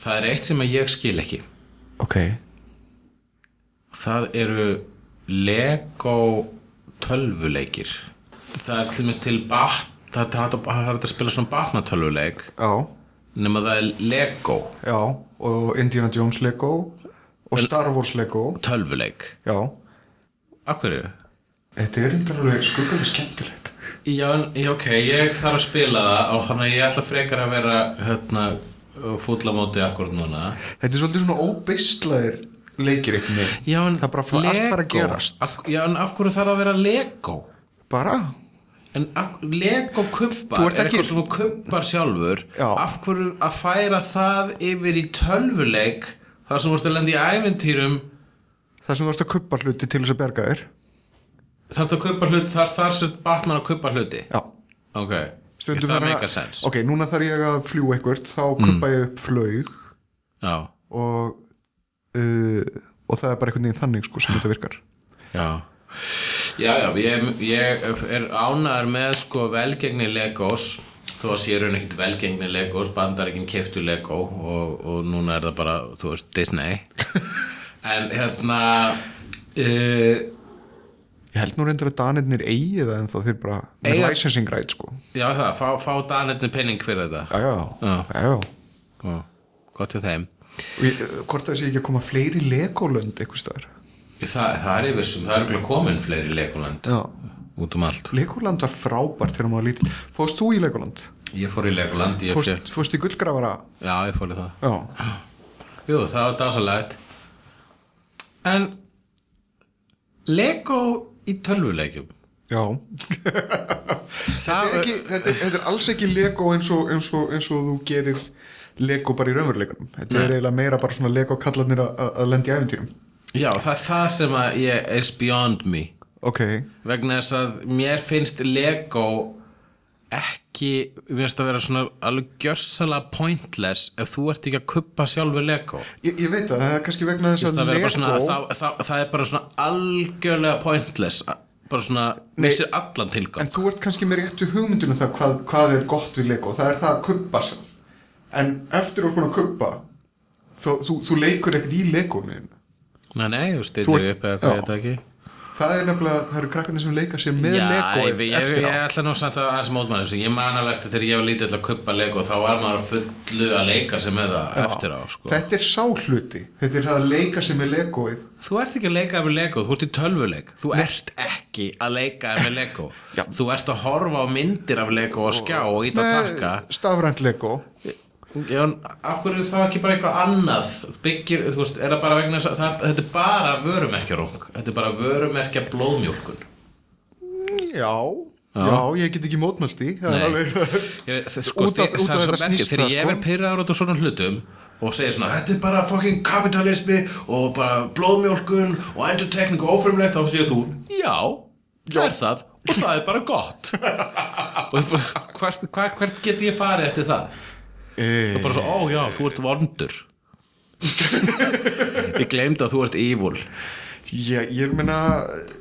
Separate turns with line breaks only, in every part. Það er eitt sem að ég skil ekki.
Ok,
Það eru Lego tölvuleikir. Það er til dæmis til bat, það er hægt að- það er hægt að spila svona batna tölvuleik
já,
nema það er Lego
já og Indiana Jones Lego og Star Wars Lego
tölvuleik.
já,
Af hverju?
þetta er reyndar alveg skuggalega skemmtilegt
Já, en- já, ok, ég þarf að spila það og þannig að ég ætla frekar að vera hérna fúllamóti akkur núna.
þetta er svolítið svona óbeistlaðir leikir einhvern veginn
Já, en
það er bara að allt fara að gerast
Af, já, en af hverju þarf að vera Lego?
bara,
En af- Lego kubbar
Þú
er
ert ekki-
eitthvað sem þú kubbar sjálfur.
Já.
Af hverju að færa það yfir í tölvuleik þar sem þú ert að lenda í æventýrum
það sem þú varst að kuppa hluti til þess að berga þér
þarf það að kubba hluti, þar þar sem Batman að kubba hluti.
já,
Ok, ég, það
er að-
meikar sens.
ok, núna þarf ég að fljú eitthvað þá kuppa ég upp flög
Já,
og uh, og það er bara einhvern veginn þannig sko sem þetta virkar
Já Já, já, ég, ég er ánæður með sko velgengni Legos þó að sé raun ekkert velgengni Legos bandaríkinn keftu Lego og, og núna er það bara, þú veist, Disney en hérna uh,
ég held nú reyndar að danirnir eigi það en þá þeir bara með
Eiga-
licensing right sko
já það, fá, fá danetni penning fyrir þetta
já, já,
Já.
já, já.
Ó, gott hjá þeim
Og Ég, eh, hvort það sé ekki að koma fleiri legolönd einhvers staðar
Það, það er yfir sem, það er ekki komin fleiri Legoland
já.
út um allt
legoland var frábært þegar maður var lítill fóst þú í legoland?
Ég fór í Legoland, ég
fóst,
fekk
fóst í gullgrafara?
Já, ég fór í það
já,
Jú, það var dásalegt En Lego í tölvuleikjum
já
Sá,
Þetta er ekki, þetta, þetta er alls ekki lego eins og, eins og, eins og þú gerir lego bara í raunveruleikanum þetta er eiginlega meira bara svona lego kallarnir að- að að lenda í æfintýrum
Já, það er það sem að ég is beyond me
ok,
vegna þess að mér finnst Lego ekki mér finnst að vera svona alveg gjörsalega pointless ef þú ert ekki að kuppa sjálfu Lego
ég, ég veit það, það er kannski vegna þess
það,
að
Lego...
lego
Svona, það, það, það er bara svona algjörlega pointless bara svona, missir allan tilgang
En þú ert kannski með réttu hugmyndunum það hvað, hvað er gott við Lego, það er það að kuppa sem. En eftir að búin að kuppa, þú, þú, þú leikur ekkert í Legonu.
Nei, nei, þú
Þú
stillir
ert-
upp eða hvað
Já.
ég þetta ekki
Það er nefnilega, það eru krakkarnir sem leika sér með Lego
ég, ég,
eftir
ég,
á.
ætla nú samt að aðeins mótmæða þessu ég man alveg eftir þegar ég var lítið til að kuppa Lego þá var maður fullu að leika sem með það eftir á sko.
Þetta er sá hluti, þetta er það að leika sér með Legoið.
þú ert ekki að leika með Lego, þú ert í tölvuleik þú ert ekki að leika með Lego
Já.
þú ert að horfa á myndir af Lego og skjá og ít að taka
stafrænt Lego.
Já, en af hverju er það ekki bara eitthvað annað byggir, þú veist, er það bara vegna þess að það, þetta er bara vörumerkjarung þetta er bara vörumerkja blóðmjólkun
Já, já, ég get ekki mótmælt því. Það er
Nei.
alveg...
Ég- þ- sko,
Út af-
þi-
út
það
af
er svo
þetta
merkið,
snýst
þegar
það,
ég
sko.
verð pyrraður út af svona hlutum og segir svona, þetta er bara fucking kapitalismi og bara blóðmjólkun og endurtekning og ófrumlegt þá segir þú, já, það er það og það er bara gott og bara, hvert, hvert, hvert get ég farið eftir það
Eh,
og bara svo, ó já, þú ert vondur ég glemd að þú ert evil
ég, ég meina,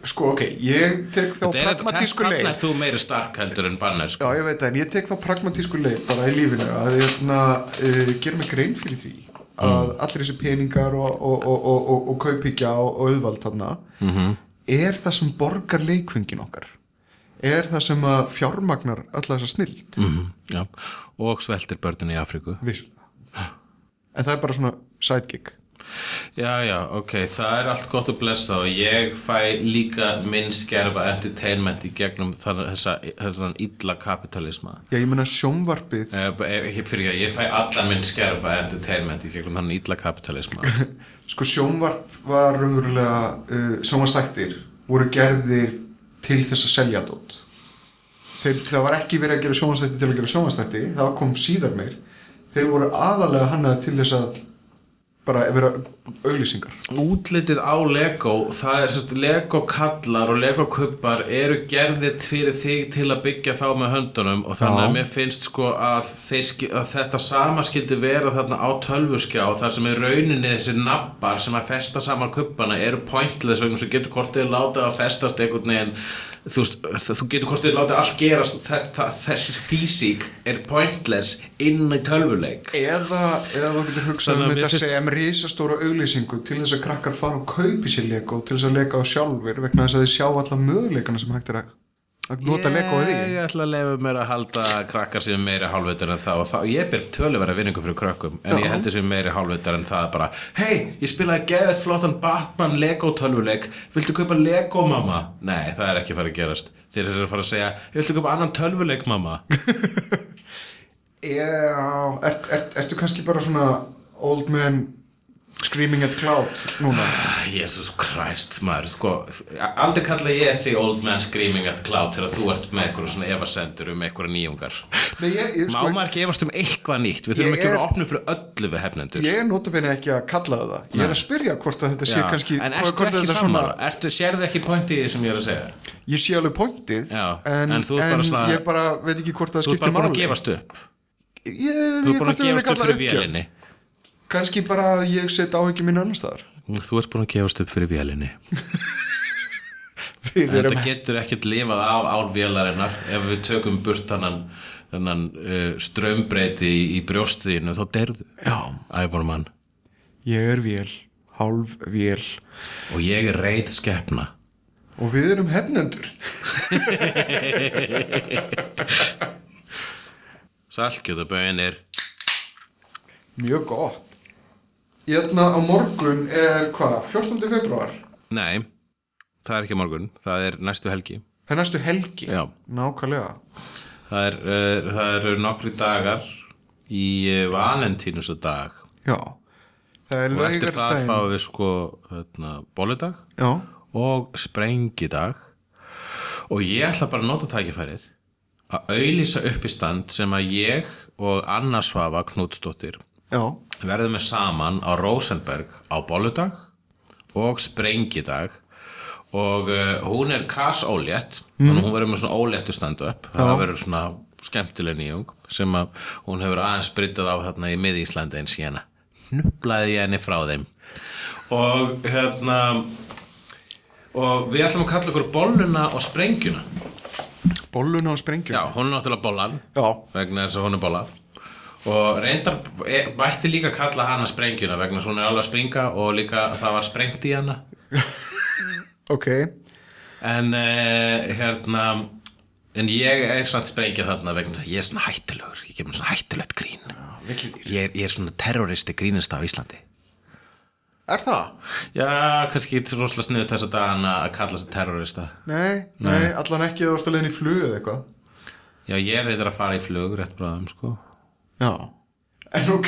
sko, ok, ég tek þá
þetta er þetta, þess
pragmatísku leið.
vegna er þú meiri stark heldur en bannar sko.
Já, ég veit það, en ég tek þá pragmatísku leið bara í lífinu að ég hérna, uh, ger mig grein fyrir því að allir þessi peningar og, og, og, og, og, og kaupíkja og, og auðvald þarna -hmm. er það sem borgar leikfengin okkar er það sem að fjármagnar alla þessa snild mm.
Mhm, já. og sveltir börnin í Afríku
en það er bara svona sidekick
Já, já, ok, það er allt gott að blessa og ég fæ líka minn skerfa entertainment í gegnum þann, þessa, þessan illa kapitalisma.
Já, ég meina sjónvarpið
Eh, Ég, fyrir ekki, ég fæ allan minn skerfa entertainment í gegnum þann illa kapitalisma.
Sko sjónvarp var raunverulega uh, sjónvarstættir voru gerðir til þess að selja dót þeir, það var ekki verið að gera sjónvarstætti til að gera sjónvarstætti það kom síðar meir þeir voru aðalega hannaði til þess að bara vera auglýsingar
Útlitið á Lego, það er sérst Lego kallar og Lego kubbar eru gerðir fyrir þig til að byggja þá með höndunum og þannig
Já.
að mér finnst sko að, þeir, ski- að þetta sama skildi vera þarna á tölvuskjá þar sem er rauninni þessir nabbar sem að festa saman kubbana eru pointless vegna sem getur hvort þið láta að festast einhvern veginn þú, veist, þú getur hvort þið láta allt gerast þe- þa- þessi físík er pointless inn í tölvuleik
eða, eða þú getur hugsað
Þannig að
um
mér
þetta
finnst-
sem risastóra auglýsingu til þess að krakkar fara og kaupi sér lego til þess að leka á sjálfur vegna þess að þeir sjá alla möguleikana sem hægt er að, að nota lego í
Ég ætla að lefa mér að halda að krakkar sem meira hálfvitar en það og það, ég ber töluverða vinningu fyrir krökkum en ég held þessum meira hálfvitar en það bara Hei, ég spilaði geðvett flottan Batman Lego tölvuleik, viltu kaupa Lego mamma? Nei, það er ekki að fara að gerast þeir eru að fara að segja, viltu kaupa annan tölvuleik mamma?
Já, ert, ert, ertu kannski bara svona old man screaming at cloud núna?
Jesus Christ, maður, sko aldrei kalla ég því old man screaming at cloud þegar þú ert með eitthvað svona efasendur um eitthvað nýjungar
Nei, ég, ég,
Má
sko,
maður ekki efast um eitthvað nýtt, við þurfum
Ég
ekki að
er-
vera opnum fyrir öllu við hefnendur
ég er notabene ekki að kalla það það. Ég er að spyrja hvort að þetta sé
Já,
kannski...
en
hvort
ertu ekki
þetta er svona-
sammála, ertu, sérðu ekki pointi í því sem ég er að segja
Ég sé alveg pointið,
Já,
en,
en þú ert bara svona-
ég bara veit ekki hvort það
þú ert
skiptir
bara búin
máli.
að gefast upp
Ég, ég,
þú ert
hvort
búin að
ég vil
gefast upp
kalla
fyrir
uppgjöf.
vélinni
Kannski bara að ég set áhengi mínu annars staðar.
Mm, þú ert búin að gefast upp fyrir vélinni
Við erum
þetta getur ekkert lifað af án vélarinnar ef við tökum burt þannan þannan uh, strömbreyti í, í brjóstiðinu þá derðu
Já.
ævormann
Ég er vél, hálf vél
og ég er reið skeppna
og við erum hefnendur.
salkjötabögin er
Mjög gott. Jörna á morgun er hvað, 14. februar?
nei, það er ekki á morgun það er næstu helgi
Það er næstu helgi.
Já.
Nákvæmlega.
það er, uh, það eru nokkri dagar í uh, valentínusadag
Já. Það er
og eftir það
laugardaginn.
fáum við sko hérna, bóludag
Já.
og sprengidag og ég ætla bara að nota tækifærið að auðlýsa upp í stand sem að ég og Anna Svafa Knútsdóttir
Já.
verðum við saman á Rosenberg á bóludag og sprengidag og uh, hún er kass ólétt þannig að hún verður með svona óléttu stand-up það verður svona skemmtileg nýjung sem að hún hefur aðeins bryttað á þarna í mið-Íslandi eins hérna hnuplaði ég henni frá þeim og hérna og við ætlum að kalla okkur bolluna og sprengjuna
Bolluna og sprengjum.
já, hún er náttúrulega bollan
Já.
vegna þess að hún er bolla og reyndar e- mætti líka kalla hana sprengjuna vegna þess að hún er alveg að springa og líka það var sprengt í hana
Ok.
en uh, hérna en ég er svona sprengja þarna vegna þess að ég er svona hættulegur ég kemur svona hættulegt grín
Villidýr.
ég er, ég er svona terroristi grínist á Íslandi
Er það?
já, kannski ekki rosalega sniðu þess að dagana að kalla sig terrorista
Nei, nei, allan ekki að þú ert að leiðin í flug eða eitthvað.
já, ég reyndar að fara í flug rétt bráðum sko
Já. En ok,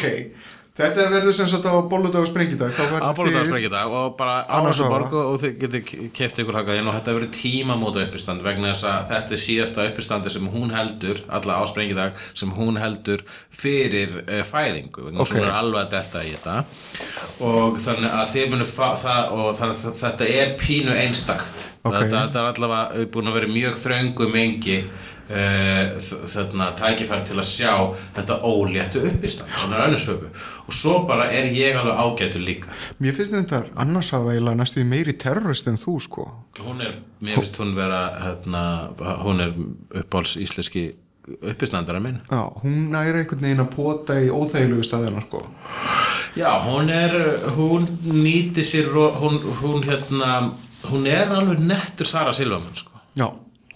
þetta verður sem sagt á bolludag og sprengjudag. Þá verður
að bóludagur
þið-
sprengja dag og bara á
Annars
þessu
var
borgu og þið getur keft ykkur hakað inn og þetta verður tímamóta uppistand vegna þess að þetta er síðasta uppistandi sem hún heldur, alla á sprengja dag sem hún heldur fyrir uh, fæðingu, vegna þess
Ok.
að hún er alveg að detta í þetta og þannig að þið munum fa- það og þannig að þetta er pínu einstakt
Ok.
þetta, þetta er allavega eh, búin að vera í mjög þröngu mengi uh, þarna tækifæri til að sjá þetta óléttu uppistand þannig að önnusöfu og svo bara er ég alveg ágætur líka
Mér finnst þetta annars hafa eiginlega næstu því meiri terrorist en þú sko.
Hún er, mér finnst hún vera hérna, hún er uppáls íslenski uppistandara minn
Já, hún næri einhvern veginn að pota í óþægilegu staðina sko.
Já, hún er, hún nýti sér ro- hún, hún hérna hún er alveg nettur Sara Silvamann sko
Já.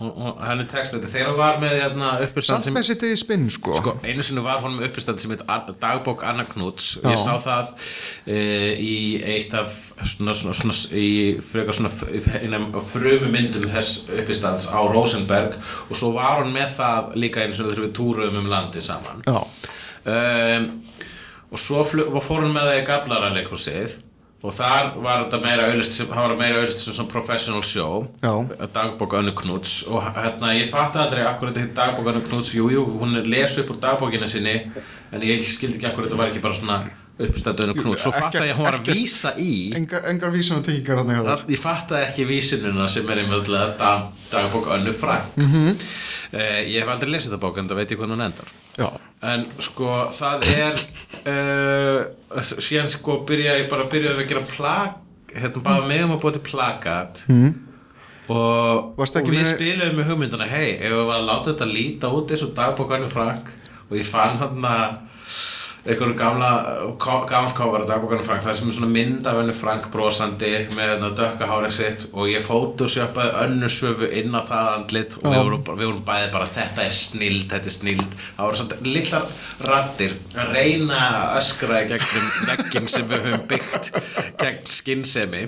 og, og henni tekst þetta þegar hann var með hérna, uppistand
samt
sem
með sitt í spinn sko,
sko, einu sinni var honum uppistand sem heit Ar- dagbók Anna Knúts og
Já.
ég sá það e, í eitt af svona, svona, svona, í frekar svona f- einum af frumu myndum þess uppistands á Rosenberg og svo var hann með það líka einu sinni þegar við túruðum um landið saman
Já.
um, og svo flug, og fór hann með það í Gablara leikhúsið og þar var þetta meira auðlist sem, það var meira auðlist sem svona professional show
Já.
dagbók Önnu Knúts og hérna ég fatt aldrei akkur þetta heit dagbók Önnu Knúts jú, jú, hún les upp úr dagbókina sinni en ég skildi ekki akkur þetta var ekki bara svona uppstætt Önnu Knúts svo fatt
ekkert-
að ég að hún var að
ekkert-
vísa í
engar, engar vísan og tengingar hann hjá þér
Það- ég fattaði ekki vísinuna sem er einhverjulega dag, dagbók Önnu Frank mm
Mhm.
-hmm. ég hef aldrei lesið það bók en það veit ég hvernig hún endar
Já.
en sko það er uh, síðan sko byrja ég bara byrjaði að gera plak hérna bara mig um að búa til plakat mm. og, og
Mhm. Varstu ekki
við
með-
spiluðum með hugmynduna hei, ef við varum að láta þetta líta út eins og dagbókarnir Frank og ég fann þarna einhverju gamla gamalt kofar á dagbókarnir Frank það sem er svona mynd af henni Frank brosandi með þarna dökka hárið sitt og ég fótusjöpaði önnu svöfu inn á það andlit og við vorum, bara- við vorum bæði bara þetta er snild, þetta er snild það voru svona litlar rattir að reyna að öskra í gegnum veggin sem við höfum byggt gegn skinnsemi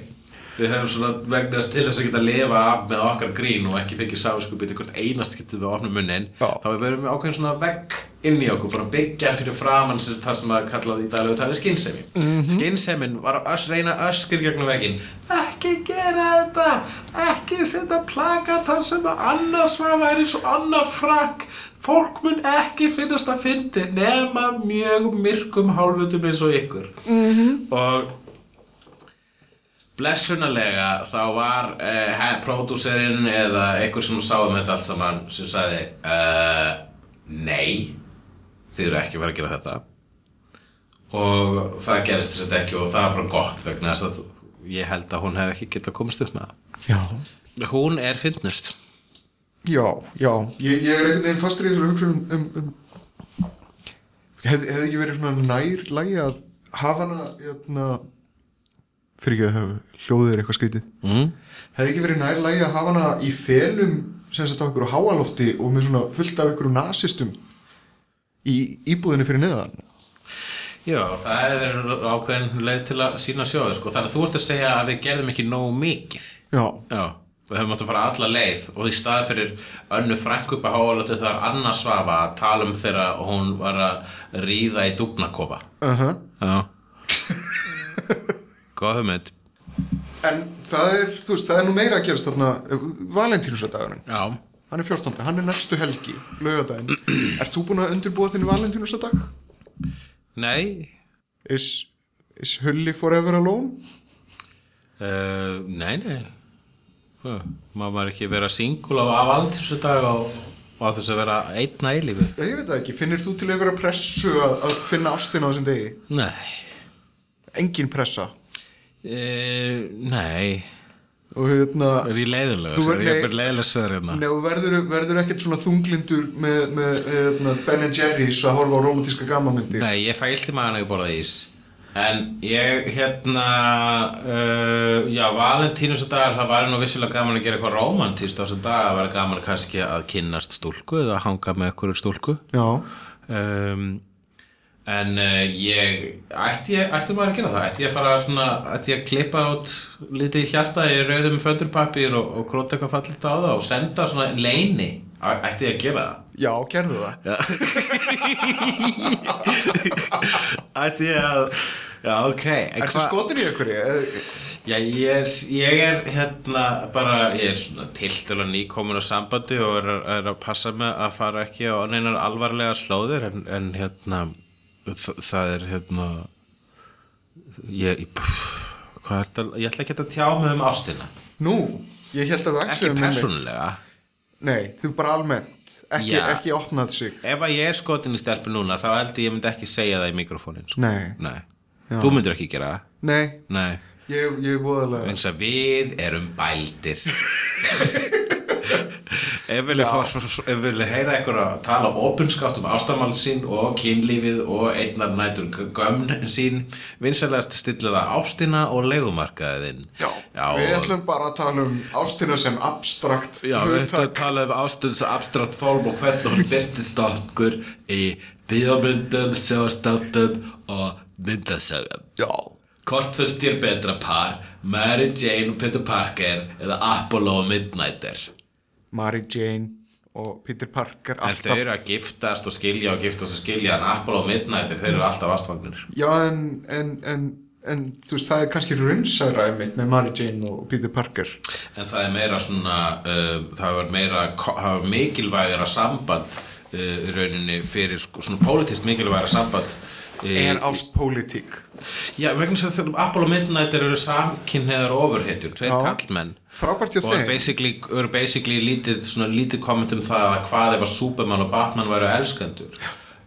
Við höfum svona vegna þess til þess að geta að lifa af með okkar grín og ekki fengið sáskupið til hvert einast getur við opnum munnin
Já.
þá við verðum með ákveðin svona vegg inn í okkur, bara byggja hann fyrir framann sem það sem að kallaði í daglegu tali skynsemi mm skynsemin var að ös, reyna öskur gegnum veggin ekki gera þetta ekki setja plakat þar sem að annars maður væri svo annar frakk fólk mun ekki finnast að fyndi nema mjög myrkum hálfutum eins og ykkur -hmm. og blessunarlega þá var uh, pródúserinn eða einhver sem sá um þetta allt saman sem sagði uh, nei þið eru ekki að vera að gera þetta og það gerist þess að ekki og það var bara gott vegna þess að ég held að hún hef ekki getað komist upp með
Já.
það hún er fyndnust
Já, já, ég, ég er einhvern veginn fastur í þessari hugsun um, um, um hefði hef ekki verið svona nær lægi að hafa hana hérna, fyrir ekki að hafa hljóðið er eitthvað skrítið
mm.
hefði ekki verið nær lægi að hafa hana í felum sem sagt á ykkur háalofti og með svona fullt af ykkur nasistum í íbúðinni fyrir neðan
já það er ákveðin leið til að sína sjóðu sko. þannig að þú ert að segja að við gerðum ekki nógu mikið
Já,
Já, við höfum átt að fara alla leið og í stað fyrir önnu frænku upp að háalötu þar Anna Svava að tala um þegar hún var að ríða í dúfnakofa.
uh
Já. Góð hugmynd.
en það er, þú veist, það er nú meira að gerast þarna, valentínusadagurinn
Já.
hann er 14. hann er næstu helgi, laugardaginn Ert þú búin að undirbúa þinn valentínusadag?
Nei,
Is, is Hulli forever alone?
uh, nei, nei. Hva? Má maður ekki vera singul á valentínsdag og, og að þess að vera einn að eilífu?
Ég veit það ekki, finnir þú til einhverja pressu að, að finna ástina á þessum degi?
Nei.
Engin pressa
Uh, nei.
Og hérna,
Er ég leiðilegur?
Þú er-
Er ég bara leiðileg sver hérna?
nefnum verður, verður ekkert svona þunglindur með, með hérna, Ben Jerry's að horfa á romantíska gammamyndir
Nei, ég fæ illt í maðan að ég borða ís En ég, hérna, uh, já, valentínusaddagar, það væri nú vissulega gaman að gera eitthvað rómantíst á þessum dag, það væri gaman kannski að kynnast stúlku eða hanga með einhverju stúlku.
Já,
Um, en uh, ég, ætti ég, ætti maður að gera það, ætti ég að fara svona, ætti ég að klippa út lítið hjarta í rauðum föndurpapír og, og króta eitthvað fallit á það og senda svona leini, Æ- ætti ég að gera það?
já, gerðu það
Ætti ég að, já, ok, en
Ertu skotin í einhverju? Eh,
Já, ég er, ég er hérna bara, ég er svona tiltölu nýkomin á sambandi og er, er að passa með að fara ekki á neinar alvarlega slóðir en, en hérna, þ- það er hérna, ég, ég- pff, hvað er þetta, ég ætla ekki að tjá mig um ástina,
Nú, ég held að við
ekki
ætluðum einmitt-
persónulega.
Nei, þú bara almennt Ekki,
Já.
ekki opnað sig
Ef að ég er skotin í stelpu núna þá held ég ég myndi ekki segja það í mikrofónin, sko.
Nei,
Nei,
Já.
þú myndir ekki gera það,
nei,
nei.
ég, ég voðalega
eins að við erum bældir
ef vilja fá- ef vilja
heyra einhverja að tala opinskátt um ástamál sín og kynlífið og einnar nætur gömn sín vinsalegast stilla það ástina og legumarkaðin
Já, við ætlum bara að tala um ástina sem abstrakt
Já, við ætlum að tala um ástunds abstrakt form og hvernig hún byrtist okkur í bíómyndum, sjóastáttum og myndasögum.
Já,
Hvort finnst þér betra par, Mary Jane og Peter Parker eða Apollo og Midnighter?
Mary Jane og Peter Parker
En þau
alltaf
eru að giftast og skilja og giftast og skilja en Apollo og Midnighter, þeir eru alltaf ástfangnir.
Já, en, en, en, en þú veist, það er kannski raunsæra einmitt með Mary Jane og Peter Parker
En það er meira svona, uh, það var meira, það var mikilvægara samband uh, í rauninni fyrir sko, svona pólitískt mikilvægara samband. Uh,
Er ást pólitík
já, vegna þess að Apollo og Midnighter eru samkynneðar ofurhetjur, tveir
Já.
kallmenn.
Frábært hjá
Og
þeim.
basically, eru basically lítið, svona lítið komment um það að hvað ef að Superman og Batman væru elskendur.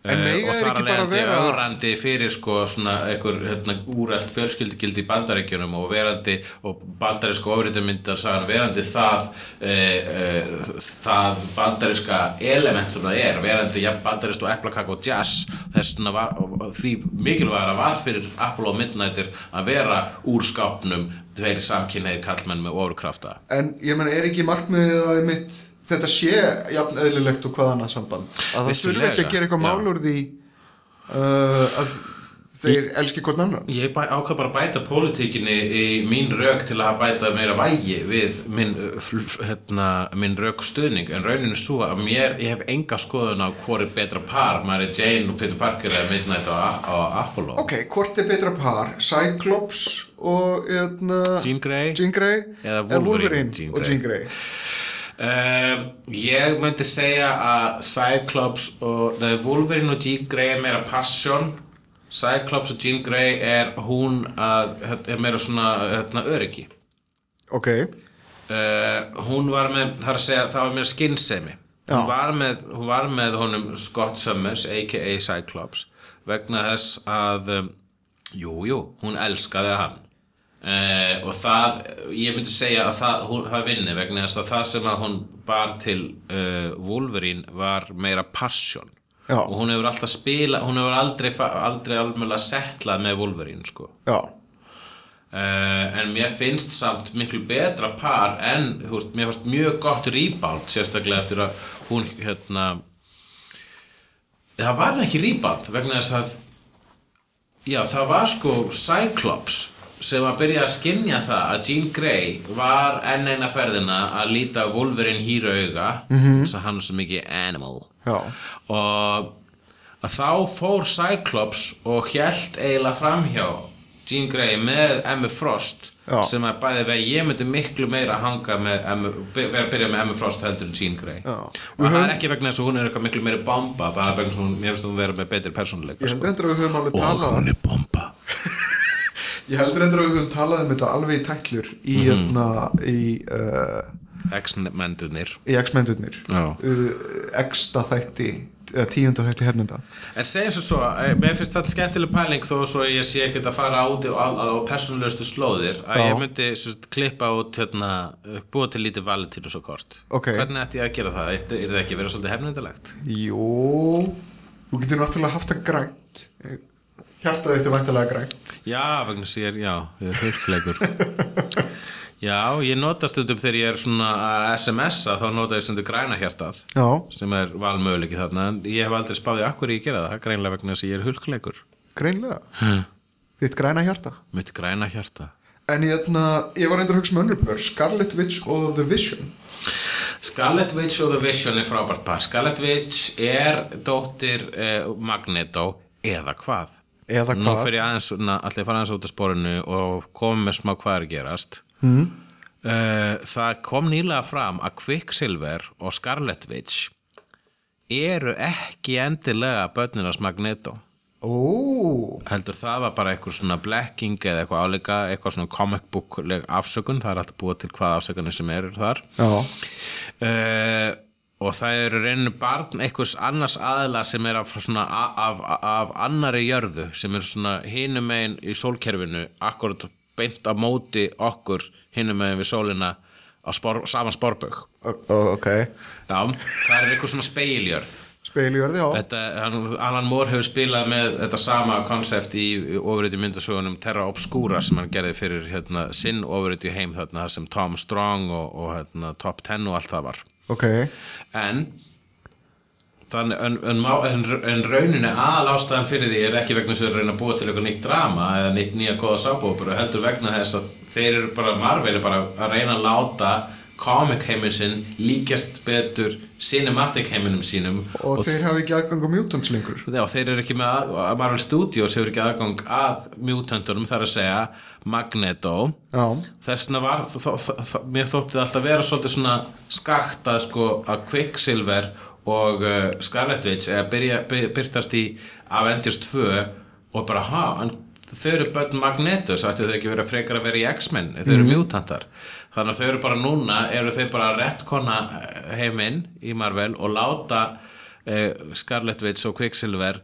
En
Eh,
mega
og
er
þar að
ekki bara að
leiðandi
vera-
ögrandi fyrir sko svona einhver hérna, úrælt fjölskyldugildi í bandaríkjunum og verandi og bandaríska ofritamyndar sagan verandi það e, e, það bandaríska element sem það er verandi ja, bandarískt og eplakak og jazz þess vegna var og því mikilvægara var fyrir Apollo og Midnighter að vera úr skápnum tveir samkynneir kallmenn með ofurkrafta
En ég meina, er ekki markmiðið að einmitt þetta sé jafn eðlilegt og hvað annað samband að það þurfi ekki
Vissulega,
að gera eitthvað
já.
mál úr því uh, að þeir elski hvort annan
Ég bæ, ákvað bara að bæta pólitíkinni í mín rauk til að bæta meira vægi við minn, uh, fl- f- hérna, minn rauk stuðning en rauninu svo að mér, ég hef enga skoðun á hvori betra par, Mary Jane og Peter Parker eða Midnight og, A- og Apollo
Ok, hvort er betra par? Cyclops og eðna,
Jean Grey
Jean Grey
Eða Wolverine, Jean
og
Grey.
Jean Grey
um, Ég myndi segja að Cyclops og, nei, Wolverine og Jean Grey er meira passion Cyclops og Jean Grey er hún að, hérna, er meira svona hérna, öryggi
Ok,
uh, hún var með, það er að segja, það var með skinnsemi
Já.
hún var með, hún var með honum Scott Summers, a.k.a. Cyclops vegna þess að um, jú, jú, hún elskaði hann Uh, og það, ég myndi segja að það, hún, það vinni vegna þess að það sem að hún bar til uh, Wolverine var meira passion
Já.
og hún hefur alltaf spila, hún hefur aldrei, fa- aldrei almjöla settlað með Wolverine sko.
já
Uh, en mér finnst samt miklu betra par en þú veist, mér finnst mjög gott rebound sérstaklega eftir að hún hérna það var nú ekki rebound vegna þess að já það var sko Cyclops sem að byrja að skinja það að Jean Grey var enn eina ferðina að líta Wolverine hýra auga -hmm. þess að hann er svo mikið animal
Já,
og að þá fór Cyclops og hjælt eiginlega framhjá Jean Grey með Emma Frost
Já.
sem að bæði vegi ég myndi miklu meira hanga með Emma, by- vera að byrja með Emma Frost heldur en Jean Grey
Já.
og það er ekki vegna þess að hún er eitthvað miklu meira bomba bara vegna þess að hún, mér finnst hún vera með betri persónuleika sko.
ég heldur endur að við höfum alveg
og
talað
hún er bomba
Ég heldur endur að við höfum talað um þetta alveg í tætlur í,
Mhm.
mm í, uh,
X-mendunir
í X-mendurnir
Já.
uh, X-ta þætti, eða tíunda þætti hernenda
En segjum svo svo, eh, mér finnst þetta skemmtileg pæling þó svo ég sé ekkert að fara út á, á, á persónulegustu slóðir að
Já.
ég myndi sérst, klippa út hérna, eh, búa til lítið valentínus og kort
Ok.
Hvernig ætti ég að gera það? Er það ekki verið svolítið hefnindalegt?
Jó, þú getur náttúrulega haft það grænt Hjartað þetta er væntalega grænt
Já, vegna þess að ég er, já, ég er hurfleikur Já, ég nota stundum þegar ég er svona að SMS-a þá nota ég stundum græna hjartað
Já,
sem er valmöguleiki þarna en ég hef aldrei spáðið akkur ég gera það, greinlega vegna þess að ég er hulkleikur
greinlega Þitt græna hjarta
mitt græna hjarta
En ég, ætna, ég var reyndar að hugsa með önnurpör Scarlet Witch og The Vision
Scarlet Witch og The Vision er frábært par Scarlet Witch er dóttir eh, Magneto eða hvað
Eða
Nú
hvað?
fyrir ég aðeins, na, allir fara aðeins út af sporinu og komum með smá hvað er að gerast mm.
Mhm.
Það kom nýlega fram að Quicksilver og Scarlet Witch eru ekki endilega börnunars Magneto
Ó,
heldur það var bara eitthvað svona blekking eða eitthvað áleika, eitthvað svona comic book afsökun, það er alltaf búið til hvað afsökunni sem eru þar
já,
uh, og það eru reynu barn einhvers annars aðla sem er af, svona, a- af, af annari jörðu sem er svona hinum megin í sólkerfinu akkurat beint á móti okkur hinum megin við sólina á spor, sama spórbögg
Ó, ok
Já, það er eitthvað svona speiljörð
speiljörði, já,
Þetta, hann, Alan Moore hefur spilað með þetta sama konsept í ofuröyti myndasögunum Terra Obscura sem hann gerði fyrir hérna, sinn ofuröyti heim þarna þar sem Tom Strong og, og hérna, Top Ten og allt það var
ok
en þannig, en, en, má- en, en rauninni aðal ástæðan fyrir því er ekki vegna þess að þeir reyna að búa til eitthvað nýtt drama eða nýtt nýja góða sábópur heldur vegna þess að þeir eru bara Marvel er bara að reyna að láta comic heiminn sinn líkjast betur cinematic heiminum sínum
og, þeir hafa ekki aðgang á mutants lengur
Já, þeir eru ekki með að, að Marvel Studios hefur ekki aðgang að mutantunum þar að segja Magneto
já,
þessna var, þó, þó, þó, mér þótti það alltaf vera svolítið svona skakta sko að Quicksilver og uh, Scarlet Witch eða byrja, by- byrtast í Avengers 2 og bara ha, en þau eru börn Magneto, svo ættu þau ekki verið frekar að vera í X-Men, þau eru mutantar þannig að þau eru bara núna, eru þau bara að rettkona heiminn í Marvel og láta uh, Scarlet Witch og Quicksilver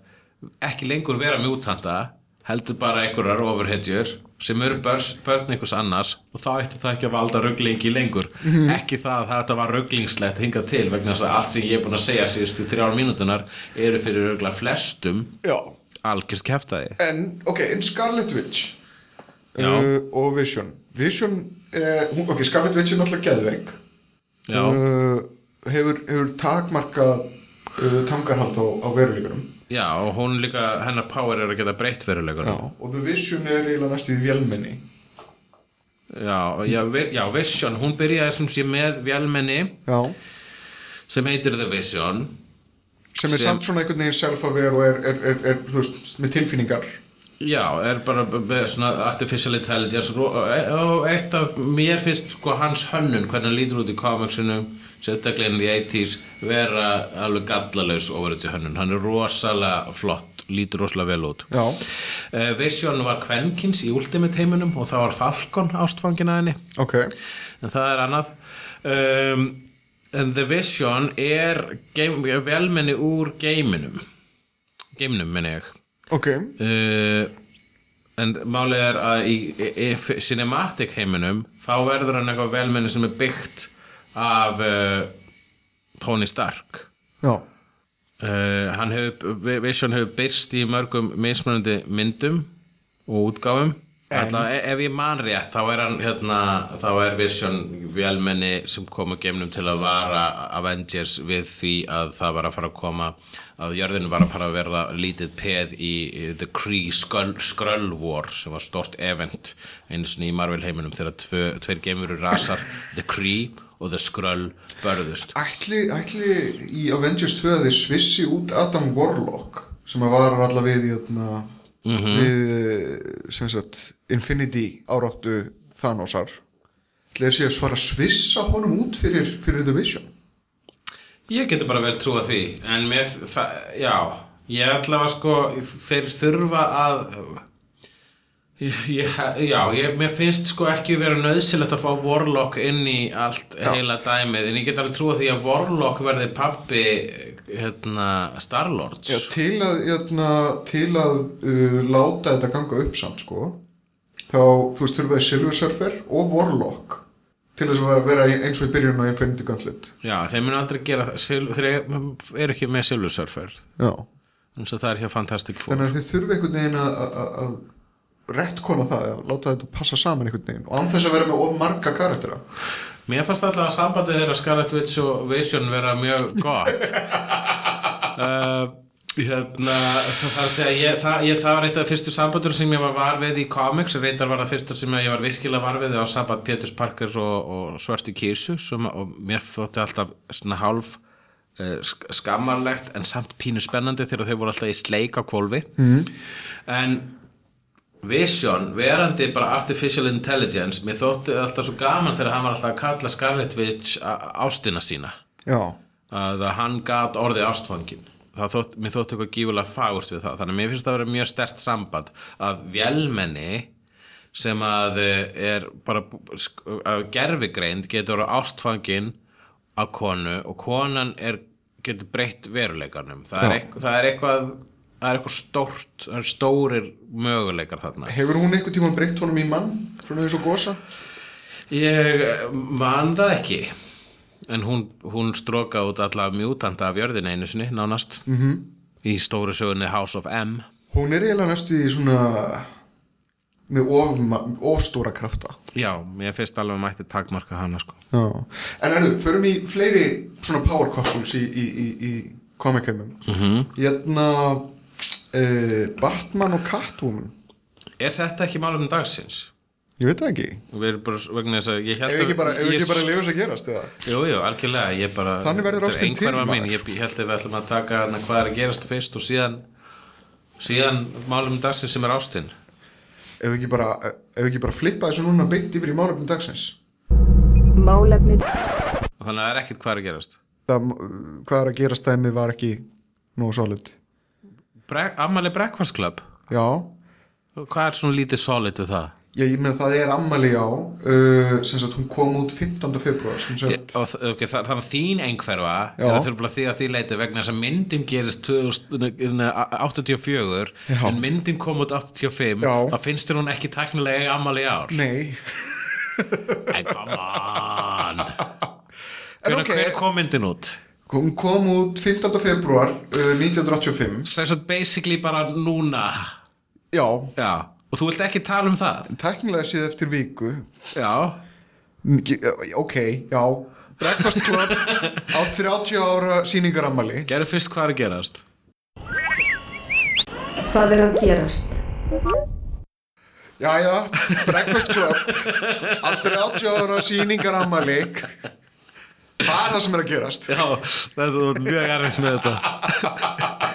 ekki lengur vera mutanta heldur bara einhverjar ofurhetjur sem eru börs, börn einhvers annars og þá ætti það ekki að valda rugglingi lengur ekki það að þetta var rugglingslegt hingað til vegna þess að allt sem ég er búin að segja síðustu þrjár mínútunar eru fyrir ruggla flestum
já,
algjört keftaði
en ok, en Scarlet Witch
Já.
uh, og Vision Vision, uh, hún, ok, Scarlet Witch er náttúrulega geðveik
Já,
uh, hefur, hefur takmarka uh, tangarhald á, á veruleikunum
já og hún líka, hennar power er að geta breytt verulegur
og The Vision er eiginlega næst í vélmenni
já, já, Vi- já, Vision, hún byrjaði sem sé með vélmenni
já,
sem heitir The Vision
sem er
Sem-
samt svona einhvern veginn self-aware og er, er, er, er, þú veist, með tilfinningar
Já, er bara b- b- svona artificial intelligence ro- og e- og eitt af mér finnst sko hans hönnun, hvernig hann lítur út í komiksinu sérstaklega inn í 80s vera alveg gallalaus ofur þetta hönnun, hann er rosalega flott lítur rosalega vel út
já,
Eh, Vision var kvenkins í Ultimate heiminum og það var Falcon ástfangin að henni
ok
en það er annað um, en The Vision er game, velmenni úr geiminum geiminum minni ég
ok,
uh, en málið er að í, í, í cinematic heiminum þá verður hann eitthvað velmenni sem er byggt af uh, Tony Stark
já
uh, hann hefur Vision hefur byrst í mörgum mismunandi myndum og útgáfum Alla, e- ef ég man rétt þá er, hann, hérna, þá er Vision velmenni sem kom að geimnum til að vara Avengers við því að það var að fara að koma að jörðin var að fara að verða lítið peð í í The Kree Skrull, Skrull War sem var stort event einu sinni í Marvel heiminum þegar tvö, tveir geimuru rasar The Kree og The Skrull börðust
Ætli, ætli í Avengers 2 að þeir svissi út Adam Warlock sem að varar alla við í öðna, við eh, sem sagt Infinity áráttu Thanosar ætli þeir sé að svara svissa honum út fyrir, fyrir The Vision
Ég geti bara vel trúa því en mér, það, já ég ætla að sko, þeir þurfa að ég, já, ég, mér finnst sko ekki vera nöðsilegt að fá Warlock inn í allt heila dæmið en ég get alveg trúa því að Warlock verði pappi hérna, Starlords
Já, til að, jötna, til að uh, láta þetta ganga upp samt sko þá þú veist þurfaði Silver Surfer og Warlock til þess að vera í- eins og í byrjun á Infinity Gauntlet
já þeir mun aldrei gera það Sil- þeir eru ekki með Silver Surfer
Já.
eins og það er hjá Fantastic Four
þannig að þið þurfi einhvern veginn að- að- að að rettkona það, að láta þetta passa saman einhvern veginn og án þess að vera með of marga karaktera
Mér fannst alltaf að sambandið þeirra Scarlet Witch og Vision vera mjög gott uh, hérna, það það er að segja ég, það, ég, það var eitt af fyrstu sambandur sem ég var var við í comics reyndar var það fyrsta sem ég var virkilega var við á samband Péturs Parker og, og Svarti Kísu sem, og mér þótti alltaf svona hálf uh, skammarlegt en samt pínu spennandi þegar þau voru alltaf í sleik á kvolfi mm. en Vision, verandi bara artificial intelligence, mér þótti alltaf svo gaman þegar hann var alltaf að kalla Scarlet Witch a- ástina sína
Já,
að hann gat orðið ástfangin það þótt, mér þótti eitthvað gífulega fagurt við það þannig að mér finnst það að vera mjög stert samband að vélmenni sem að eh, er bara sk- að gerfigreind getur orðið ástfangin af konu og konan er, getur breytt veruleikarnum það er,
Já.
eitthvað, það er eitthvað það er eitthvað stórt, það er stórir möguleikar þarna
hefur hún einhvern tímann breytt honum í mann, svona eins og gosa?
Ég eh, man það ekki en hún, hún stróka út alla mjútanda af jörðina einu sinni nánast -hmm. í stóru sögunni House of M
Hún er eiginlega næstu í svona með of, ofstóra krafta
Já, mér finnst alveg að mætti takmarka hana sko
Já. En erðu, förum í fleiri svona power couples í, í, í, í komikumum mm -hmm. Hérna uh, Batman og Catwoman
Er þetta ekki málum dagsins?
Ég veit það ekki
Við erum bara vegna þess að ég held
Ef ekki bara, ef
ég-
ekki bara leiður þess að gerast eða
Jú, jú, algjörlega, ég bara
Þannig verður
þetta er
ástin til,
einhverfa
maður.
mín, ég, ég held að við ætlum að taka hana hvað er að gerast fyrst og síðan síðan málum dagsins sem er ástin
Ef ekki bara, ef ekki bara flippa þessu núna beint yfir í málefnum dagsins
Málefni
og þannig að það er ekkert hvað er að gerast
það, Hvað er að gerast þeimmi var ekki nógu solid
Bre Amali Breakfast Club
Já,
Hvað er svona lítið solid við það?
ég, ég meina það er ammali á uh, sem sagt hún kom út 15. februar sem sagt
Ég, og, þ- ok, þa- þannig að þín einhverfa
Já.
er að þurfa því að því leiti vegna þess að myndin gerist 1984
Já.
en myndin kom út 85
Já.
þá finnst þér hún ekki teknilega ammali ár
Nei,
en come on
En
Hvernig
ok.
okay. kom myndin út?
hún kom út 15. februar uh, 1985
Þess að basically bara núna
Já,
Já, og þú vilt ekki tala um það
tæknilega séð eftir viku
Já,
Mm, ég- Ok, já Breakfast Club á 30 ára sýningarammali
gerðu fyrst hvað er að gerast
Hvað er að gerast?
Jæja, Breakfast Club á 30 ára sýningarammali Það er það sem er að gerast
Já, þetta var mjög erfitt með þetta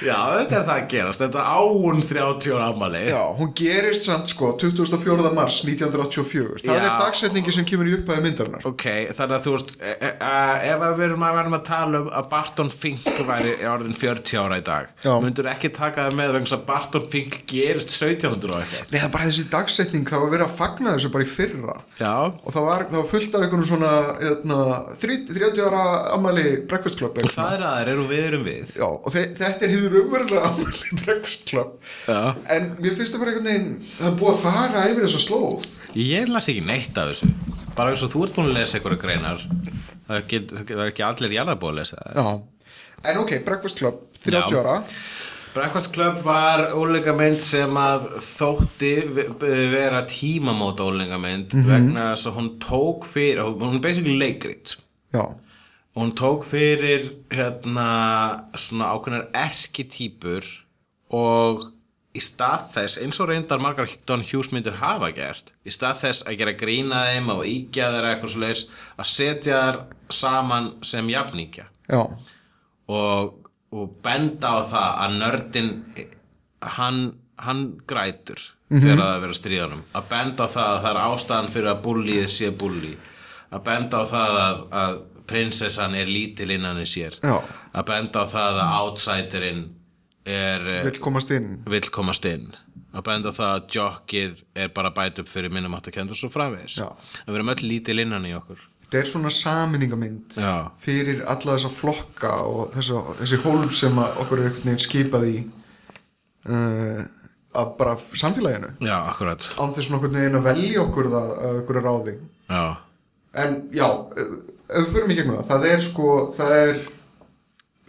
Já, þetta er það að gerast Þetta án 30 ára afmæli
Já, hún gerist samt sko 24. mars 1984 Það
Já.
er dagsetningi sem kemur í upphæði myndarinnar
Ok, þannig að þú veist e- e- e- ef að við erum að verðum að tala um að Barton Fink væri orðin 40 ára í dag
Já.
myndur ekki taka það með vegna þess að Barton Fink gerist 1700 og eitthvað
Nei, það er bara þessi dagsetning, það var verið að fagna þessu bara í fyrra
Já,
Og það var, það var fullt af einhvern svona eðna, 30 ára ammæli Breakfast Club
og
eitthvað.
það er aðeir eru við erum við
Já, og þe þetta er hýður umverulega ammæli Breakfast Club
Já.
En mér finnst það bara einhvern veginn, það er búið að fara yfir þessa slóð
Ég las ekki neitt af þessu bara eins og þú ert búin að lesa einhverja greinar það, get, það er ekki allir jarðarbúið að lesa það
Já. En ok, Breakfast Club, 30
Já.
ára.
Breakfast Club var óleikamynd sem að þótti ve- vera tímamóta óleikamynd vegna þess að hún tók fyrir hún er basically leikrit
Já.
hún tók fyrir hérna svona ákveðnar erkitýpur og í stað þess, eins og reyndar margar Don Hughes myndir hafa gert í stað þess að gera grína þeim og ígja þeirra eitthvað svo leis að setja þær saman sem jafningja
Já.
og, og benda á það að nördin hann, hann grætur
Mhm.
þegar það er verið að stríða honum að benda á það að það er ástæðan fyrir að bullið sé bulli að benda á það að, að prinsessan er lítil innan í sér
Já.
að benda á það að outsiderinn er eh,
Vill komast inn.
vill komast inn að benda á það að jockið er bara bæt upp fyrir minnum átt að kenda svo framvegis
Já.
að vera möll lítil innan í okkur
Þetta er svona saminningamynd
Já.
fyrir alla þessa flokka og þessa, þessi hólf sem að okkur er einhvern veginn skipað í uh, af bara samfélaginu.
já, akkurat
Án þess svona einhvern veginn að velja okkur það að okkur er ráði.
já,
En já, eh, ef við förum í gegnum það, það er sko, það er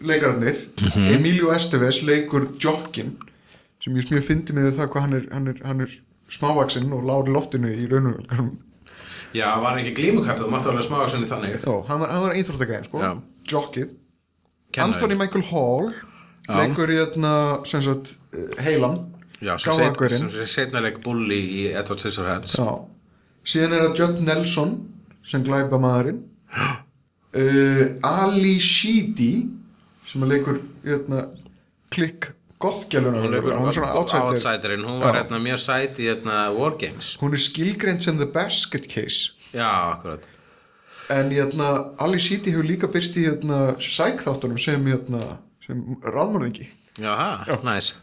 leikararnir,
Mhm.
Emilio Esteves leikur Jokkin, sem ég mjög fyndi með það hvað hann er, hann er, hann er smávaksinn og lári loftinu í raunum.
já var ekki glímukall þú mátt alveg smáaksinni þannig
Já, hann var, hann var einþróttagæðin sko,
Já.
Jokkið.
Kennari.
Anthony Michael Hall leikur í hérna, sem sagt, eh, heilan,
Já, sem set-
gáðangurinn.
sem setna leik bulli í Edward Scissorhands
Já. Síðan er það Judd Nelson sem glæpa maðurinn uh, Ali Sheedy sem að leikur hérna, klikk gothgjalunar
hún leikur
hún er svona outsider.
outsiderinn, hún var
Já.
hérna mjög sæt í hérna Wargames
Hún er skilgreint sem the basket case
já, akkurat
en hérna, Ali Sheedy hefur líka byrst í hérna, sækþáttunum sem, hérna, sem ráðmörðingi
Jaha, næs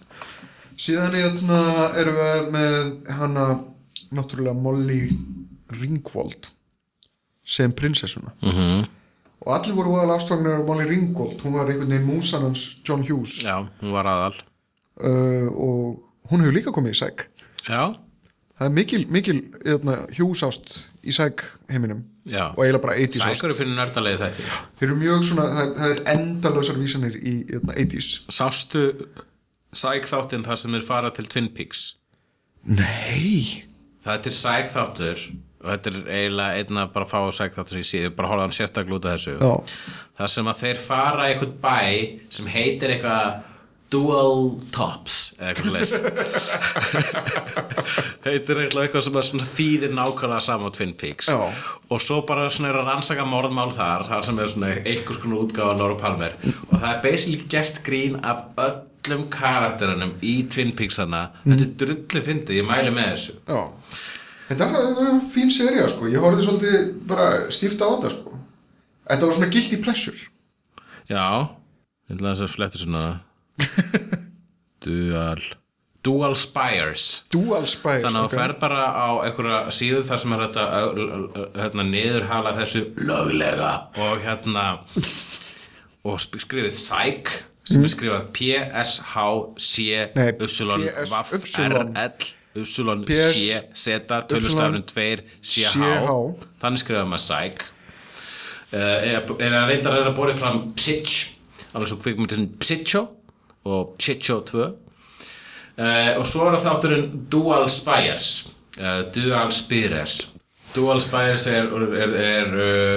síðan hérna, erum við með hana náttúrulega Molly Ringwald sem prinsessuna
mm -hmm.
og allir voru voðalega ástofnir á Molly Ringwald hún var einhvern veginn músan hans John Hughes
Já, hún var aðal
uh, og hún hefur líka komið í sæk
Já,
það er mikil, mikil eðna, hjúsást í sæk heiminum
Já.
og eiginlega bara 80s ást
Sækur er fyrir nördalegi þetta
þeir eru mjög svona, það, það er endalausar vísanir í hérna, eðna, 80s
Sástu Sæk þáttinn þar sem er fara til Twin Peaks
Nei
Þetta er Sæk þáttur og þetta er eiginlega einn af bara fá Sæk þáttur sem ég sé, ég bara horfði á hann sérstaklega út af þessu
Já.
þar sem að þeir fara í einhvern bæ sem heitir eitthvað Dual Tops eða eitthvað leys heitir eitthvað eitthvað sem er svona þýðir nákvæmlega saman á Twin Peaks
Já.
og svo bara svona eru að rannsaka morðmál þar þar sem er svona einhvers konar útgáfa Laura Palmer og það er basically gert grín af öllum karakterunum í Twin Peaks hana þetta er drullu fyndið, ég mæli með þessu
Já. Þetta var- var var fín serið sko. ég horfði svolítið bara stíft á þetta sko. Þetta var svona guilty pleasure
Já, ég ætla þess að flettu svona Dual Dual Spires
Dual Spice
Þannig að
ok.
þú ferð bara á einhverja síðu þar sem er þetta ö- ö- ö- hérna, niðurhala þessu löglega og hérna og sp- skrifið Psych sem er skrifað
Mm. Nei, PS
P-S-H-C-Y-V-R-L-Y-C-Z tölustafnum 2-C-H
CH.
þannig skrifaði maður Psych uh, er að reyndar er að borið fram Psych alveg svo kvikmyndin Psycho og Psycho 2 uh, og svo er það þátturinn Dual Spires uh, Dual Spires Dual Spires er, er, er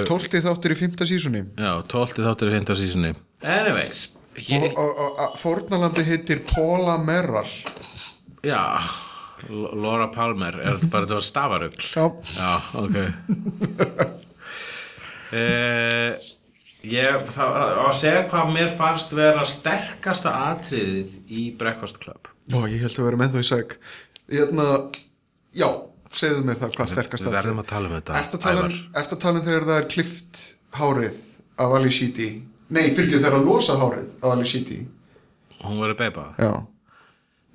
uh,
12. þáttur í 5. sísunni
já, 12. þáttur í 5. sísunni anyways ég,
og, og, og- og fórnalandi heitir Paula Merral
já L- Laura Palmer, er þetta bara þetta var stafarugl
Já,
Já, ok uh, Ég það, á að segja hvað mér fannst vera sterkasta atriðið í Breakfast Club
já ég held að vera með þau í sæk Hérna, já, segðu mig það hvað sterkast
Við verðum að tala um þetta
Ertu að tala um,
Ævar.
ertu að tala um þegar það er klift hárið af Ali Sheedy? Nei, fyrir ekki þegar að losa hárið af Ali Sheedy.
Hún verður beipa
Já.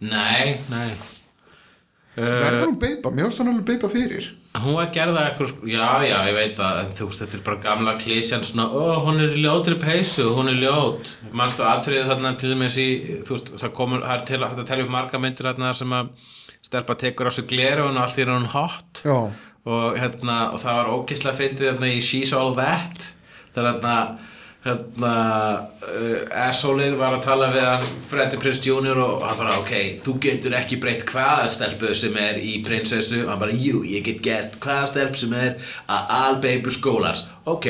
Nei, nei Eh,
Verður hún beipa? Mér finnst hún alveg beipa fyrir.
Hún var gerða eitthvað, sko- já, já, ég veit að en þú veist, þetta er bara gamla klísjan svona, ó, hún er í ljótri peysu, hún er ljót manstu atriðið þarna til dæmis í þú veist, það komur, það er til hægt að telja upp marga myndir þarna sem að stelpa tekur á sig gleru og allt í hún hot
Já.
og hérna og það var ógislega fyndið hérna í She's All That þegar hérna hérna uh, S.O.Lið var að tala við hann Freddy Prince Jr. og hann bara ok, þú getur ekki breytt hvaða stelpu sem er í prinsessu og hann bara jú, ég get gert hvaða stelpu sem er að all baby skólas ok,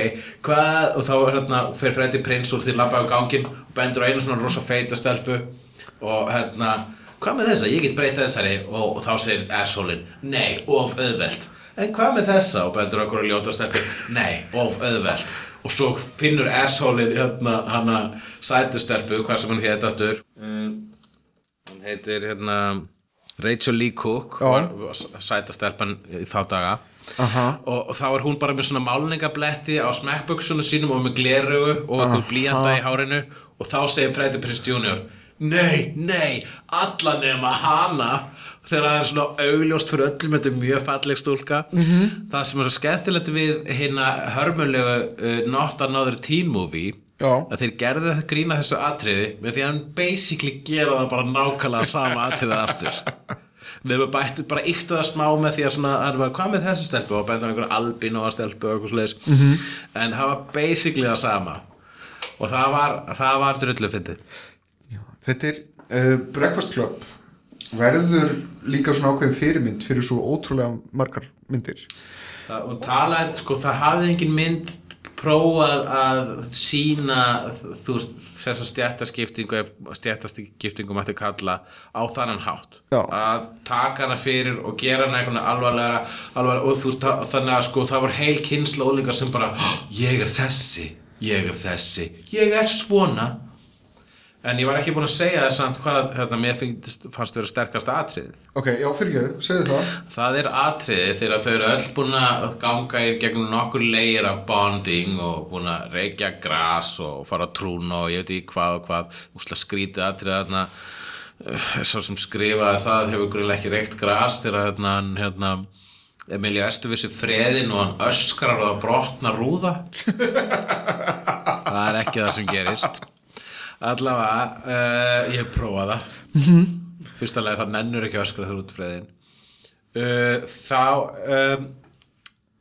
hvað, og þá hérna fer Freddy Prince úr því labbaði á ganginn og bendur á einu svona rosa feita stelpu og hérna hvað með þessa, ég get breyta þessari og, og þá segir asshole-in, nei, of auðvelt en hvað með þessa og bendur okkur að ljóta steppi, nei, of auðvelt og svo finnur asshole-in hérna, hana sætustelpu hvað sem hún hétt aftur um, hún heitir hérna Rachel Lee Cook
Já.
var- var sætastelpan í þá daga
Aha.
og, og þá er hún bara með svona málningabletti á smekkbuksunum sínum og með glerugu og einhver blíjanda í hárinu og þá segir Freddy Prince Jr. Nei, nei, alla nema hana þegar það er svona augljóst fyrir öllum þetta er mjög falleg stúlka -hmm. það sem er svo skemmtilegt við hérna hörmulegu uh, Not Another Teen Movie
Já.
að þeir gerðu þetta grína þessu atriði með því að hann basically gera það bara nákvæmlega sama atriðið aftur Nefnum bættu bara yktu það smá með því að svona, hann var, hvað með þessu stelpu og bættu hann einhverja albinóa stelpu og eitthvað slags en það var basically það sama og það var, það var drullu fyndið
Þetta er uh, Breakfast Club. Verður líka svona ákveðin fyrirmynd fyrir svo ótrúlega margar myndir.
Það- og talaði, sko, það hafði engin mynd prófað að sína þú veist, þessa stjættaskiptingu ef stjættaskiptingu mætti kalla á þannan hátt
Já.
að taka hana fyrir og gera hana einhvern alvarlega, alvarlega og þú veist, það- þannig að sko, það var heil kynsla úlingar sem bara, "Hó, ég er þessi ég er þessi, ég er svona en ég var ekki búin að segja það samt hvað hérna, mér finnst- fannst vera sterkast atriðið
Ok, já, fyrir ekki, segðu það.
Það er atriðið þegar þau eru öll búin að ganga í gegnum nokkur leir af bonding og búin að reykja gras og fara að trúna og ég veit ekki hvað og hvað úsla skrítið atriðið þarna svo sem skrifaði það hefur grunlega ekki reykt gras þegar hérna, hann, hérna Emilio Estuvissi freðin og hann öskrar og það brotna rúða það er ekki það sem gerist allavega eh, uh, ég hef prófað það fyrsta lega það nennur ekki að öskra þér út freðin uh, þá um,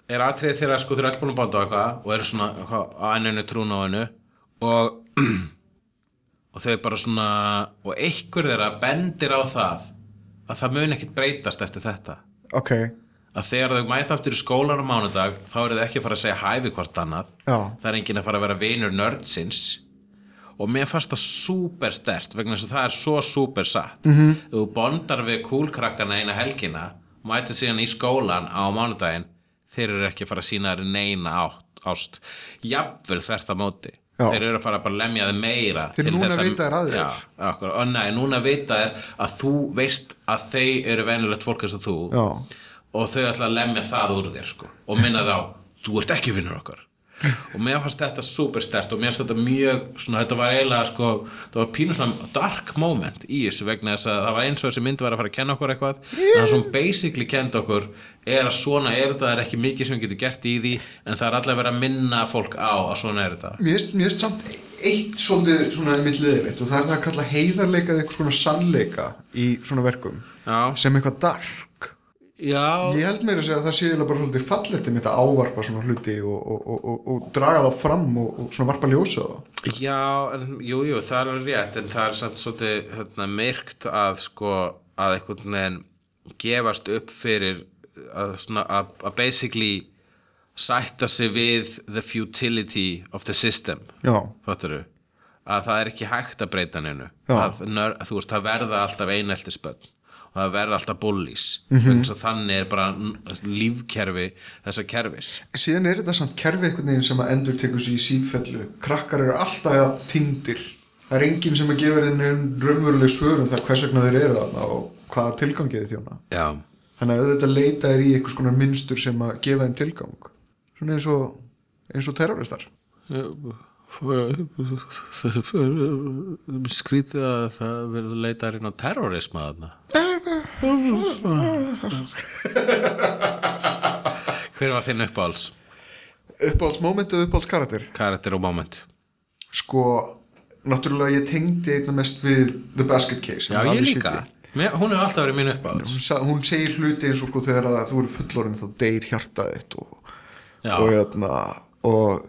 er atriðið þeirra sko þeirra öll búin að báta á eitthvað og eru svona eitthvað, á enninu trún á hennu og og þau bara svona og einhver þeirra bendir á það að það mun ekkert breytast eftir þetta
ok,
að þegar þau mæta aftur í skólan á mánudag þá eru þau ekki að fara að segja hæfi hvort annað
já,
það er enginn að fara að vera vinur nördsins og mér fannst það súper stert vegna þess að það er svo súper satt mm
Mhm.
-hmm. þú bondar við kúlkrakkana eina helgina mætið síðan í skólan á mánudaginn þeir eru ekki að fara að sína þeir neina átt, ást jafnvel þvert á móti
Já.
þeir eru að fara að bara lemja þeir meira
Þeir
til
núna
þess
vita þeir að þér.
Já, akkur, og nei, núna vita þeir að þú veist að þau eru venjulegt fólk eins og þú
já
og þau ætla að lemja það úr þér sko, og minna þá, þú ert ekki vinnur okkar og mér fannst þetta super stert og mér fannst þetta mjög, svona, þetta var eiginlega sko, það var pínu svona dark moment í þessu vegna þess að það var eins og þessi mynd var að fara að kenna okkur eitthvað en það sem basically kenda okkur er að svona er þetta, það er ekki mikið sem við getum gert í því en það er allavega verið að minna fólk á að svona er þetta
Mér finnst- mér finnst samt eitt svolítið svona milliðiritt og það er það að kalla heiðarleika eða eitthvað svona sannleika í svona verkum
Já,
sem eitthvað dark
já,
Ég held meira að segja að það sé eiginlega bara svolítið fallegt um þetta ávarpa svona hluti og, og, og, og, og draga það fram og, og svona varpa ljósa það
Já, en, jú, jú, það er alveg rétt en það er samt svolítið hérna, myrkt að sko að einhvern veginn gefast upp fyrir að, svona, að, að basically sætta sig við the futility of the system
Já,
fattaru að það er ekki hægt að breyta neinu
Já.
að, nör, að þú veist, það verða alltaf eineltisbönn og það verða alltaf bullís mm -hmm. þannig er bara n- lífkerfi þessa kerfis
síðan er þetta samt kerfi einhvern veginn sem að endur tekur sig í sífellu krakkar eru alltaf tindir það er enginn sem að gefa þeim raunveruleg svör um það hvers vegna þeir eru þarna og hvaða tilgangi þeir þjóna
Já,
um þannig að auðvitað leita þeir í einhvers konar minnstur sem að gefa þeim tilgang svona eins og, eins og terroristar
skrítið að það verður leitar inn á terrorisma þarna hver var þinn uppáhalds
uppáhaldsmoment og uppáhaldskarakter
karakter og moment
sko, náttúrulega ég tengdi einna mest við The Basket Case
já
sem
ég
Alice
líka
City.
Mér, hún er alltaf verið mín uppáhalds
hún, sa- hún segir hluti eins og sko þegar að þú eru fullorinn þá deyr hjartað þitt og,
Já.
og, hérna, og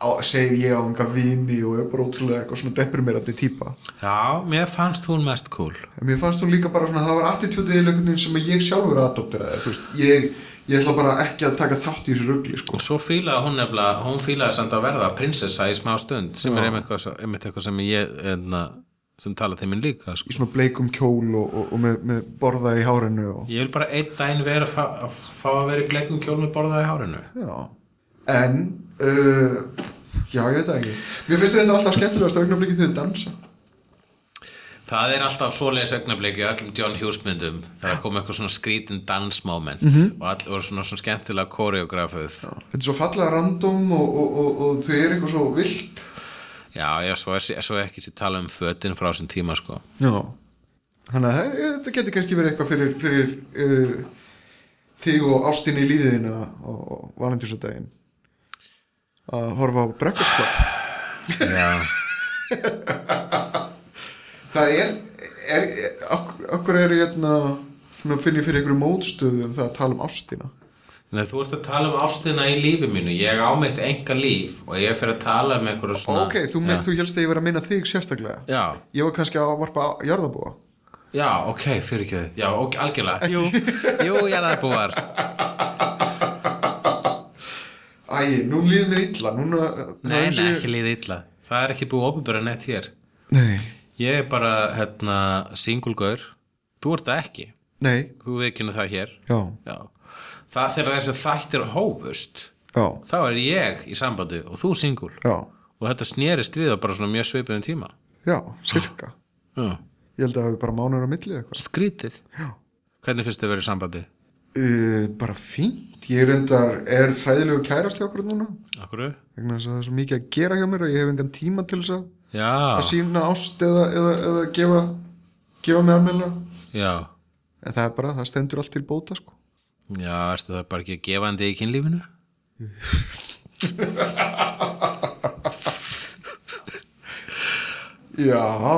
á, segir ég á enga vini og er bara ótrúlega eitthvað svona deprimerandi típa
já, mér fannst hún mest cool
en mér fannst hún líka bara svona það var attitútið í lögnin sem að ég sjálfur aðdóttiraði þú veist, ég, ég ætla bara ekki að taka þátt í þessu rugli sko
svo fílaði hún nefnilega hún fílaði samt að verða prinsessa í smá stund sem er einmitt eitthvað, svo- einmitt eitthvað sem ég enna, sem tala til mín líka sko.
í svona bleikum kjól og, og, og með, með borða í hárinu og,
ég vil bara einn daginn vera að fá, að fá að vera í bleikum kjól með borðaði hárinu
já. en uh, já, ég veit það ekki mér finnst þetta alltaf skemmtilegast að augnablikið þegar þau dansa
Það er alltaf svoleiðis augnablik í öllum John Hughes myndum það kom eitthvað svona skrítin dansmoment og allir voru svona, svona skemmtilega koreografuð Mhm. Já,
þetta er svo fallega random og, og, og, og þau eru eitthvað svo vilt
já, svo, er, svo er ekki sér tala um fötin frá þessum tíma sko
já þannig að það- þetta getur kannski verið eitthvað fyrir, fyrir uh, þig og ástinni í líðina og, og valendjúsadaginn að horfa á Breakfast Club
Já,
það er, er, er ok- okkur er hérna svona finn ég fyrir einhverju mótstöðu um það að tala um ástina
Nei, þú ert að tala um ástina í lífi mínu ég á mitt enga líf og ég fyrir að tala um eitthvað svona
ok, þú, ja.
Já.
þú helst að ég verið að minna þig sérstaklega
Já,
ég var kannski að varpa á- jarðabúa
Já, ok, fyrir ekki þið. Já, ok, algjörlega. Jú, jú, ég er það búar.
æ, nú líður mér illa núna,
Nei, nei, ekki líði illa. Það er ekki búið ofinbæra neitt hér.
nei,
Ég er bara, hérna, singulgaur. Þú ert það ekki.
nei,
Þú veikinu það hér.
já,
Já. Það þegar þessi þættir hófust,
já
þá er ég í sambandi og þú singul.
já,
Og þetta snerist við á bara svona mjög svipuðum tíma.
já, cirka
Já.
ég held að það hafi bara mánuður á milli eða eitthvað
Skrítið. Já. Hvernig finnst þið verið í sambandi?
uh, bara fínt, ég er endar er hræðilegu kærasti okkur núna
Akkur?
vegna þess að það er svo mikið að gera hjá mér og ég hef engan tíma til þess að,
Já.
að sína ást eða, eða, eða gefa gefa mig almennilega
Já.
en það er bara, það stendur allt til bóta sko
Já, erstu það bara ekki gefandi í kynlífinu?
já,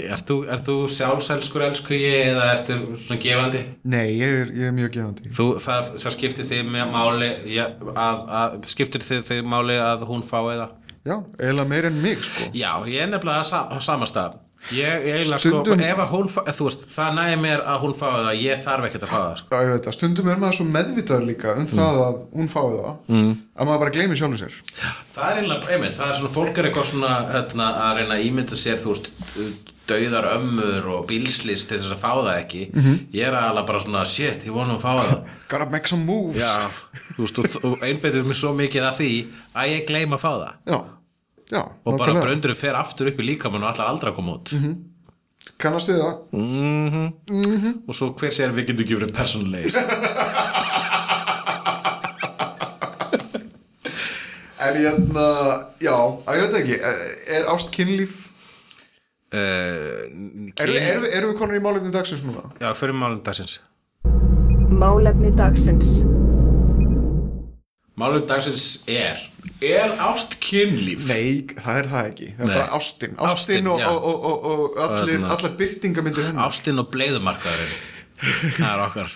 Ert þú, ert þú sjálfselskur elsku ég eða ertu svona gefandi?
Nei, ég er, ég er mjög gefandi
Þú, það, það skiptir þig með máli ja, að, að, skiptir þig, þig máli að hún fái það?
Já, eiginlega meir en mig sko
Já, ég er nefnilega sa, samastað Ég ég eiginlega sko,
Stundum-
ef að hún fá, þú veist, það nægir mér að hún fái það ég þarf ekkert að fá það, sko
Já, ég veit það, stundum er maður svo meðvitaður líka um
Mm.
það að hún fái það mm. að maður bara gleymi sjálfur sér
Það er eiginlega, einmitt, það er svona, fólk er eitthvað svona hérna, að reyna að ímynda sér, þú veist dauðar ömmur og bílslist til þess að fá það ekki Ég er alveg bara svona, shit, ég vonum að fá það
Gotta make some moves
Já, þú veist, og- og einbeitum mér svo mikið að því að ég gleyma að fá það
já, já
og bara
nákvæmlega. Mhm.
bröndurum fer aftur upp í líkamann og allar aldrei að koma út
Kannast við það
og svo hver segir við getum ekki verið persónulegir
Er ég hérna, já, að ég veit það ekki, er ást kynlíf,
Eh, uh,
erum við, er við, er við konar í málefni dagsins núna?
Já, fyrir málum dagsins
Málefni dagsins.
Málum dagsins er Er ást kynlíf?
Nei, það er það ekki, það er
Nei.
bara ástin, ástin,
Ástin,
og,
já. Hérna.
og, og, og, og allir,
Þarna.
allar byrtingamindir hennar.
Ástin og bleiðumarkaðurinn Það er okkar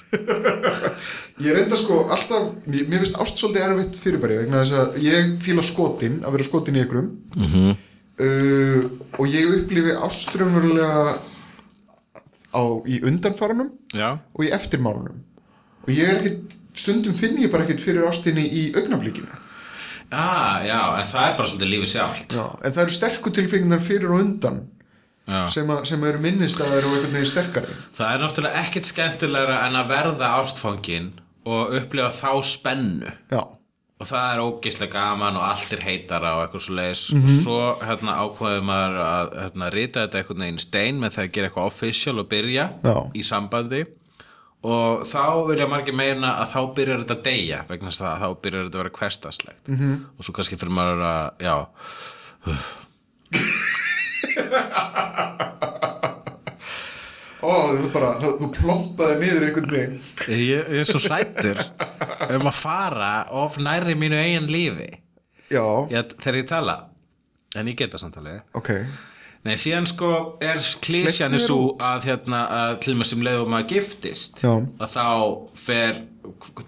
Ég reynda sko alltaf, mér, mér finnst ást svolítið erfitt fyrirbæri vegna þess að ég fíla skotin, að vera skotin í ykkurum
Mhm.
uh, og ég upplifi ástrumverulega á, í undanfaranum
Já,
og í eftirmálunum og ég er ekkit, stundum finn ég bara ekkit fyrir ástinni í augnaflíkinu.
já, já en það er bara svolítið lífið sjálft
Já, en það eru sterku tilfinningar fyrir og undan
Já.
sem, að, sem eru minnistæðar og einhvern veginn sterkari
Það er náttúrulega ekkert skemmtilegra en að verða ástfangin og upplifa þá spennu
Já,
og það er ógislega gaman og allt er heitara og eitthvað svo leiðis og svo hérna, ákvaðum maður að hérna, rita þetta einhvern veginn í stein með það að gera eitthvað official og byrja
Já.
í sambandi og þá vilja margir meina að þá byrjar þetta að deyja vegna þess að þá byrjar þetta að vera hverstaslegt -hmm. og svo kannski fyrir maður að já,
ó, þú bara, þú, þú ploppaði niður einhvern veginn
ég, ég er svo hrættur um að fara of nærri mínu eigin lífi
Já,
ég, þegar ég tala en ég geta samtalið
ok
Nei, síðan sko er klísjan
Hleyptu
er
þér
svo að hérna, að til maður sem leiðum maður giftist
Já.
að þá fer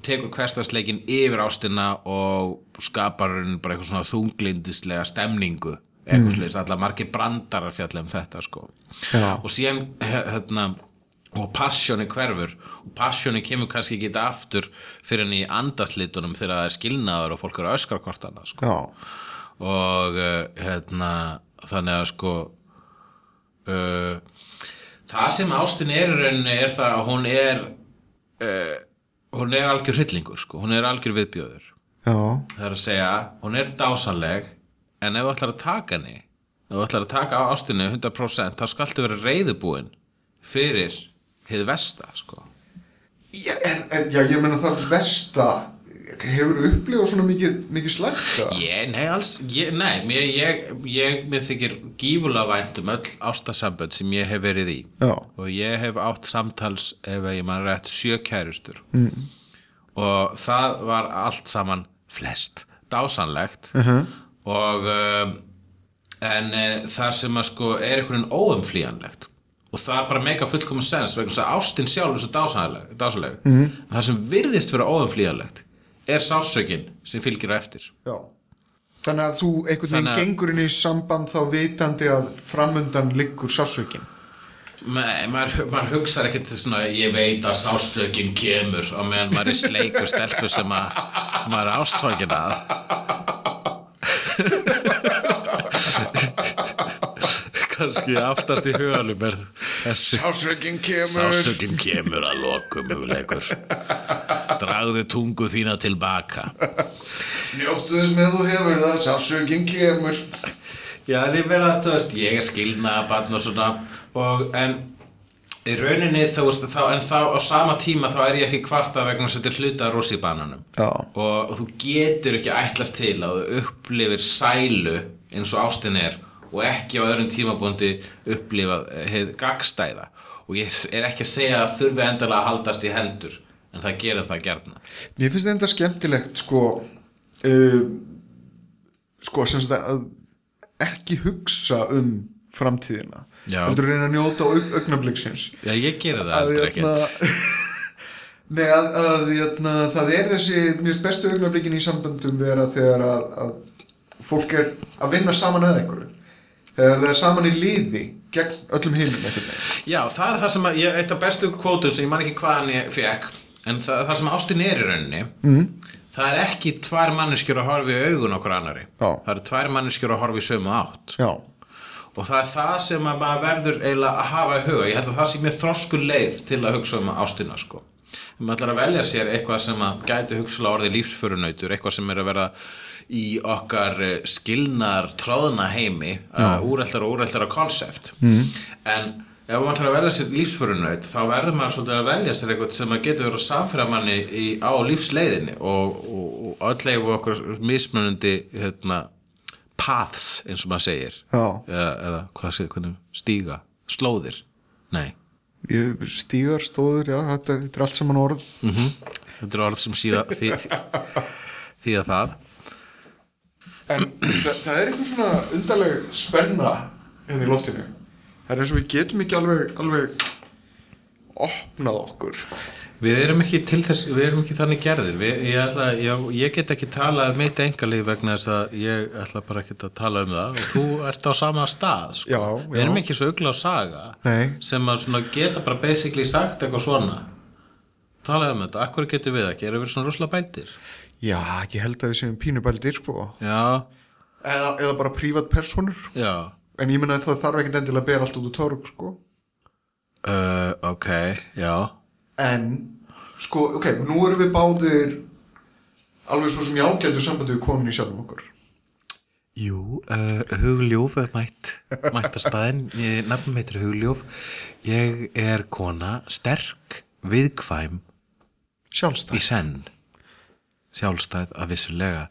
tekur hverstagsleikin yfir ástina og skapar hún bara eitthvað svona þunglindislega stemningu eitthvað mm. sliðis, allar margir brandarar fjalla um þetta sko
Já.
og síðan he- hérna og passjóni hverfur og passjóni kemur kannski ekki aftur fyrir henni í andaslitunum þegar það er skilnaður og fólk eru að öskra hvort annað sko
Já,
og uh, hérna þannig að sko uh, það sem ástin er í rauninni er það að hún er uh, hún er algjör hryllingur sko, hún er algjör viðbjóður
já,
það er að segja, hún er dásanleg en ef þú ætlar að taka henni ef þú ætlar að taka á ástinu 100% þá skaltu vera reyðubúin fyrir hið versta sko
já, en, en, já ég meina það versta hefur upplifað svona mikið, mikið slæmt eða?
Ég, nei, alls, ég, nei, mér, ég, ég, mér þykir gífulega vænt um öll ástasambönd sem ég hef verið í
Já.
og ég hef átt samtals ef ég mann rétt sjö kærustur mm. og það var allt saman flest dásanlegt
Uh-huh.
-huh. og um, en e, það sem að sko er einhvern óumflýjanlegt og það er bara mega fullkomun sens vegna þess að ástin sjálf er svo dásanleg, dásanleg.
Mhm.
Mm. það sem virðist vera óumflýjanlegt er sásökin sem fylgir á eftir
já Þannig að þú einhvern veginn
Þannig að-
gengur inn í samband þá vitandi að framundan liggur sásökin
Nei, maður, maður hugsar ekkert svona, ég veit að sásökin kemur á meðan maður er sleikur stelpur sem að maður er ástfangin að. Kanski aftast í huganum er þessi
Sásökin kemur
sásökin kemur að lokum hugleikur. Dragðu tungu þína tilbaka.
Njóttu þess með þú hefur það, sásökin kemur
Já, en ég meina, þú veist, ég er skilnaðabarn og svona og en í rauninni þú veist þá, en þá á sama tíma þá er ég ekki kvarta vegna þess að þetta er hluta af rossibananum
Já.
og þú getur ekki ætlast til að þú upplifir sælu eins og ástin er og ekki á öðrum tímabúndi upplifa heið gagstæða og ég er ekki að segja að þurfi endalega að haldast í hendur en það gerir það gerna
Mér finnst þetta skemmtilegt sko eh, uh, sko sem sagt að ekki hugsa um framtíðina
Já.
heldur reyna að njóta aug- augnabliksins
Já, ég gera það
hérna
aldrei ekkert.
Nei, að, að jötna, það er þessi, mér finnst bestu augnablikin í samböndum vera þegar að, að fólk er að vinna saman að einhverju. Þegar það er saman í liði gegn öllum hinum einhvern veginn.
Já, það er það sem að, ég, eitt af bestu kvótum sem ég man ekki hvaðan ég fekk, en það, það sem ástin er í rauninni, mm. það er ekki tvær manneskjur að horfa í augun okkur annari.
Já.
Það eru tvær manneskjur að horfa í sömu átt.
Já,
Og það er það sem að maður verður eiginlega að hafa í huga. Ég held að það sé mér þrosku leið til að hugsa um ástina, sko. Ef maður ætlar að velja sér eitthvað sem að gæti hugsalega orðið lífsförunautur, eitthvað sem er að vera í okkar eh, skilnar tróðna heimi, úreltar og úreltara konsept. Mm. En ef maður ætlar að velja sér lífsförunaut, þá verður maður svolítið að velja sér eitthvað sem að getur verið að samfæra manni í, á lífsleiðinni og, og, og öll eigum við okkur mismunandi hérna, paths, eins og maður segir
Já.
eða, eða hvað sé, hvernig, stíga slóðir, nei
ég, stígar, stóður, já, þetta, þetta er allt saman orð.
þetta eru orð sem síða því, því, því að það
En það, það er einhver svona undarleg spenna hérna í loftinu. Það er eins og við getum ekki alveg, alveg opnað okkur.
við erum ekki til þess, við erum ekki þannig gerðir við, ég, ætla, ég, ég get ekki talað um mitt engalíf vegna þess að ég ætla bara ekki að tala um það og þú ert á sama stað sko.
Já,
við
já.
erum ekki svo ugla á saga
Nei.
sem að svona geta bara basically sagt eitthvað svona tala um þetta, akkur getum við ekki, erum við svona rosalega bæltir
Já, ég held að við séum pínubældir, sko.
já,
Eða, eða bara prívat personur.
já
En ég menna að það þarf ekkert endilega að bera allt út úr torg, sko.
uh, ok, já
En, sko, ok, nú erum við báðir alveg svo sem ég ágættu sambandi við konun í sjálfum okkur.
Jú, uh, Hugljóf er mætt, mætt á staðinn, ég nafnum heitir Hugljóf, ég er kona, sterk, viðkvæm, í
Sjálfstæð.
senn, sjálfstæð að vissulega,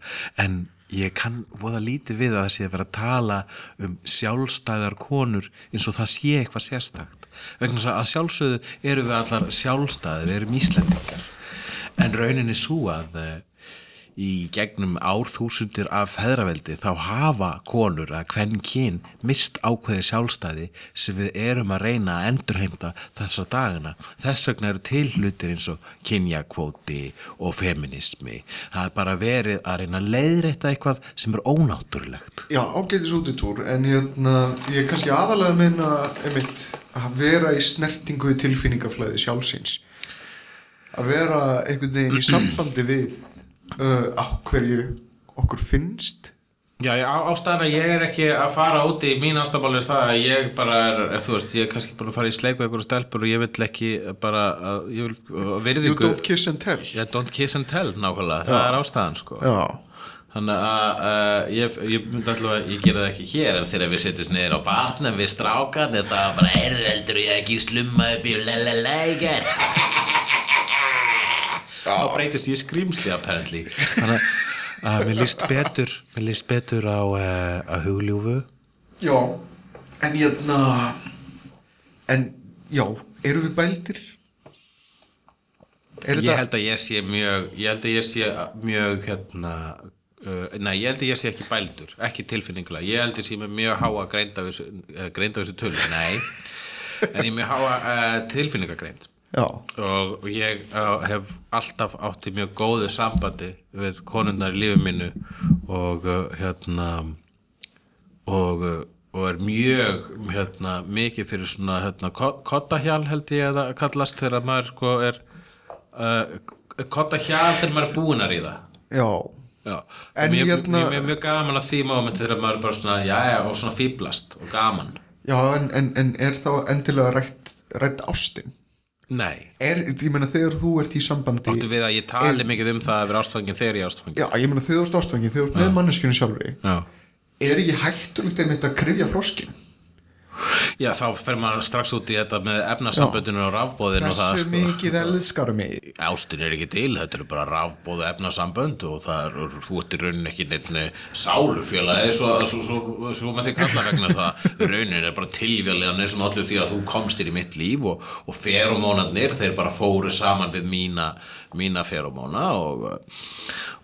en ég kann voða lítið við að það sé að vera að tala um sjálfstæðar konur eins og það sé eitthvað sérstakt, vegna þess að sjálfsögðu erum við allar sjálfstæðir, við erum Íslendingar, en rauninni svo að eh, í gegnum árþúsundir af feðraveldi þá hafa konur að hvern kyn mist ákveði sjálfstæði sem við erum að reyna að endurheimta þessa dagana. Þess vegna eru til hlutir eins og kynjakvóti og feminismi. Það er bara verið að reyna að leiðrétta eitthvað sem er ónáttúrulegt.
Já, ágætis út í túr, en hérna, ég er kannski aðalega að minna, einmitt, að vera í snertingu í tilfinningaflæði sjálfsins. Að vera einhvern veginn í sambandi við uh, á hverju okkur finnst.
Já, ég- á- ástæðan að ég er ekki að fara úti í mín ástafáli það að ég bara er, er, þú veist, ég er kannski búin að fara í sleik og einhverju stelpur og ég vil ekki bara að, ég vil, að
You
virðingu
don't kiss and tell.
Já, don't kiss and tell nákvæmlega, það er ástæðan sko
Já.
Þannig að uh, ég, ég myndi alltaf að ég gera það ekki hér en þegar við setjumst niður á barnum við strákan þetta var bara heyrðu heldur og ég ekki slumma upp í lalalægar Þá breytist ég í skrýmsli apparently Þannig að- að mér líst betur mér líst betur á, uh, á hugljúfu
Já, en hérna En já, eru við bældir? Er
Ég held að ég sé mjög ég held að ég sé mjög hérna Uh, nei, ég held að ég sé ekki bældur, ekki tilfinningulega ég held að ég sé með mjög háa greinda við þessu tölu, nei en ég er mjög háa uh, tilfinningagreind
Já,
og og ég uh, hef alltaf átti mjög góðu sambandi við konundar í lífi mínu og uh, hérna og, uh, og er mjög hérna, mikið fyrir svona hérna, ko- kottahjal held ég að það kallast þegar maður sko er uh, kottahjal þegar maður er búin að ríða
já
Já,
En
mjög,
hérna-
mjög, mjög, mjög gaman að því moment þegar maður er bara svona, jæja, og svona fýblast og gaman.
Já, en, en, en er þá endilega rætt, rætt ástin?
Nei,
Er, ég meina þegar þú ert í sambandi
áttu við að ég tali mikið um það að vera ástfangin þegar ég er ástfangin.
Já, ég meina þegar þú ert ástfangin, þegar þú ert með manneskjunni sjálfri
Já.
Er ekki hættulegt einmitt að krifja froskin?
Já, þá fer maður strax út í þetta með efnasamböndinu og rafbóðinu og það sko.
Hversu mikið elskar mig
Ástin er ekki til, þetta eru bara rafbóð og efnasambönd og það er þú ert í raunin ekki neittni sálufélagi svo, svo, svo, svo, svo með þig kalla vegna það raunin er bara tilvíðlega sem allir því að þú komst inn í mitt líf og, og feromónarnir, þeir bara fóru saman við mína, mína feromóna og,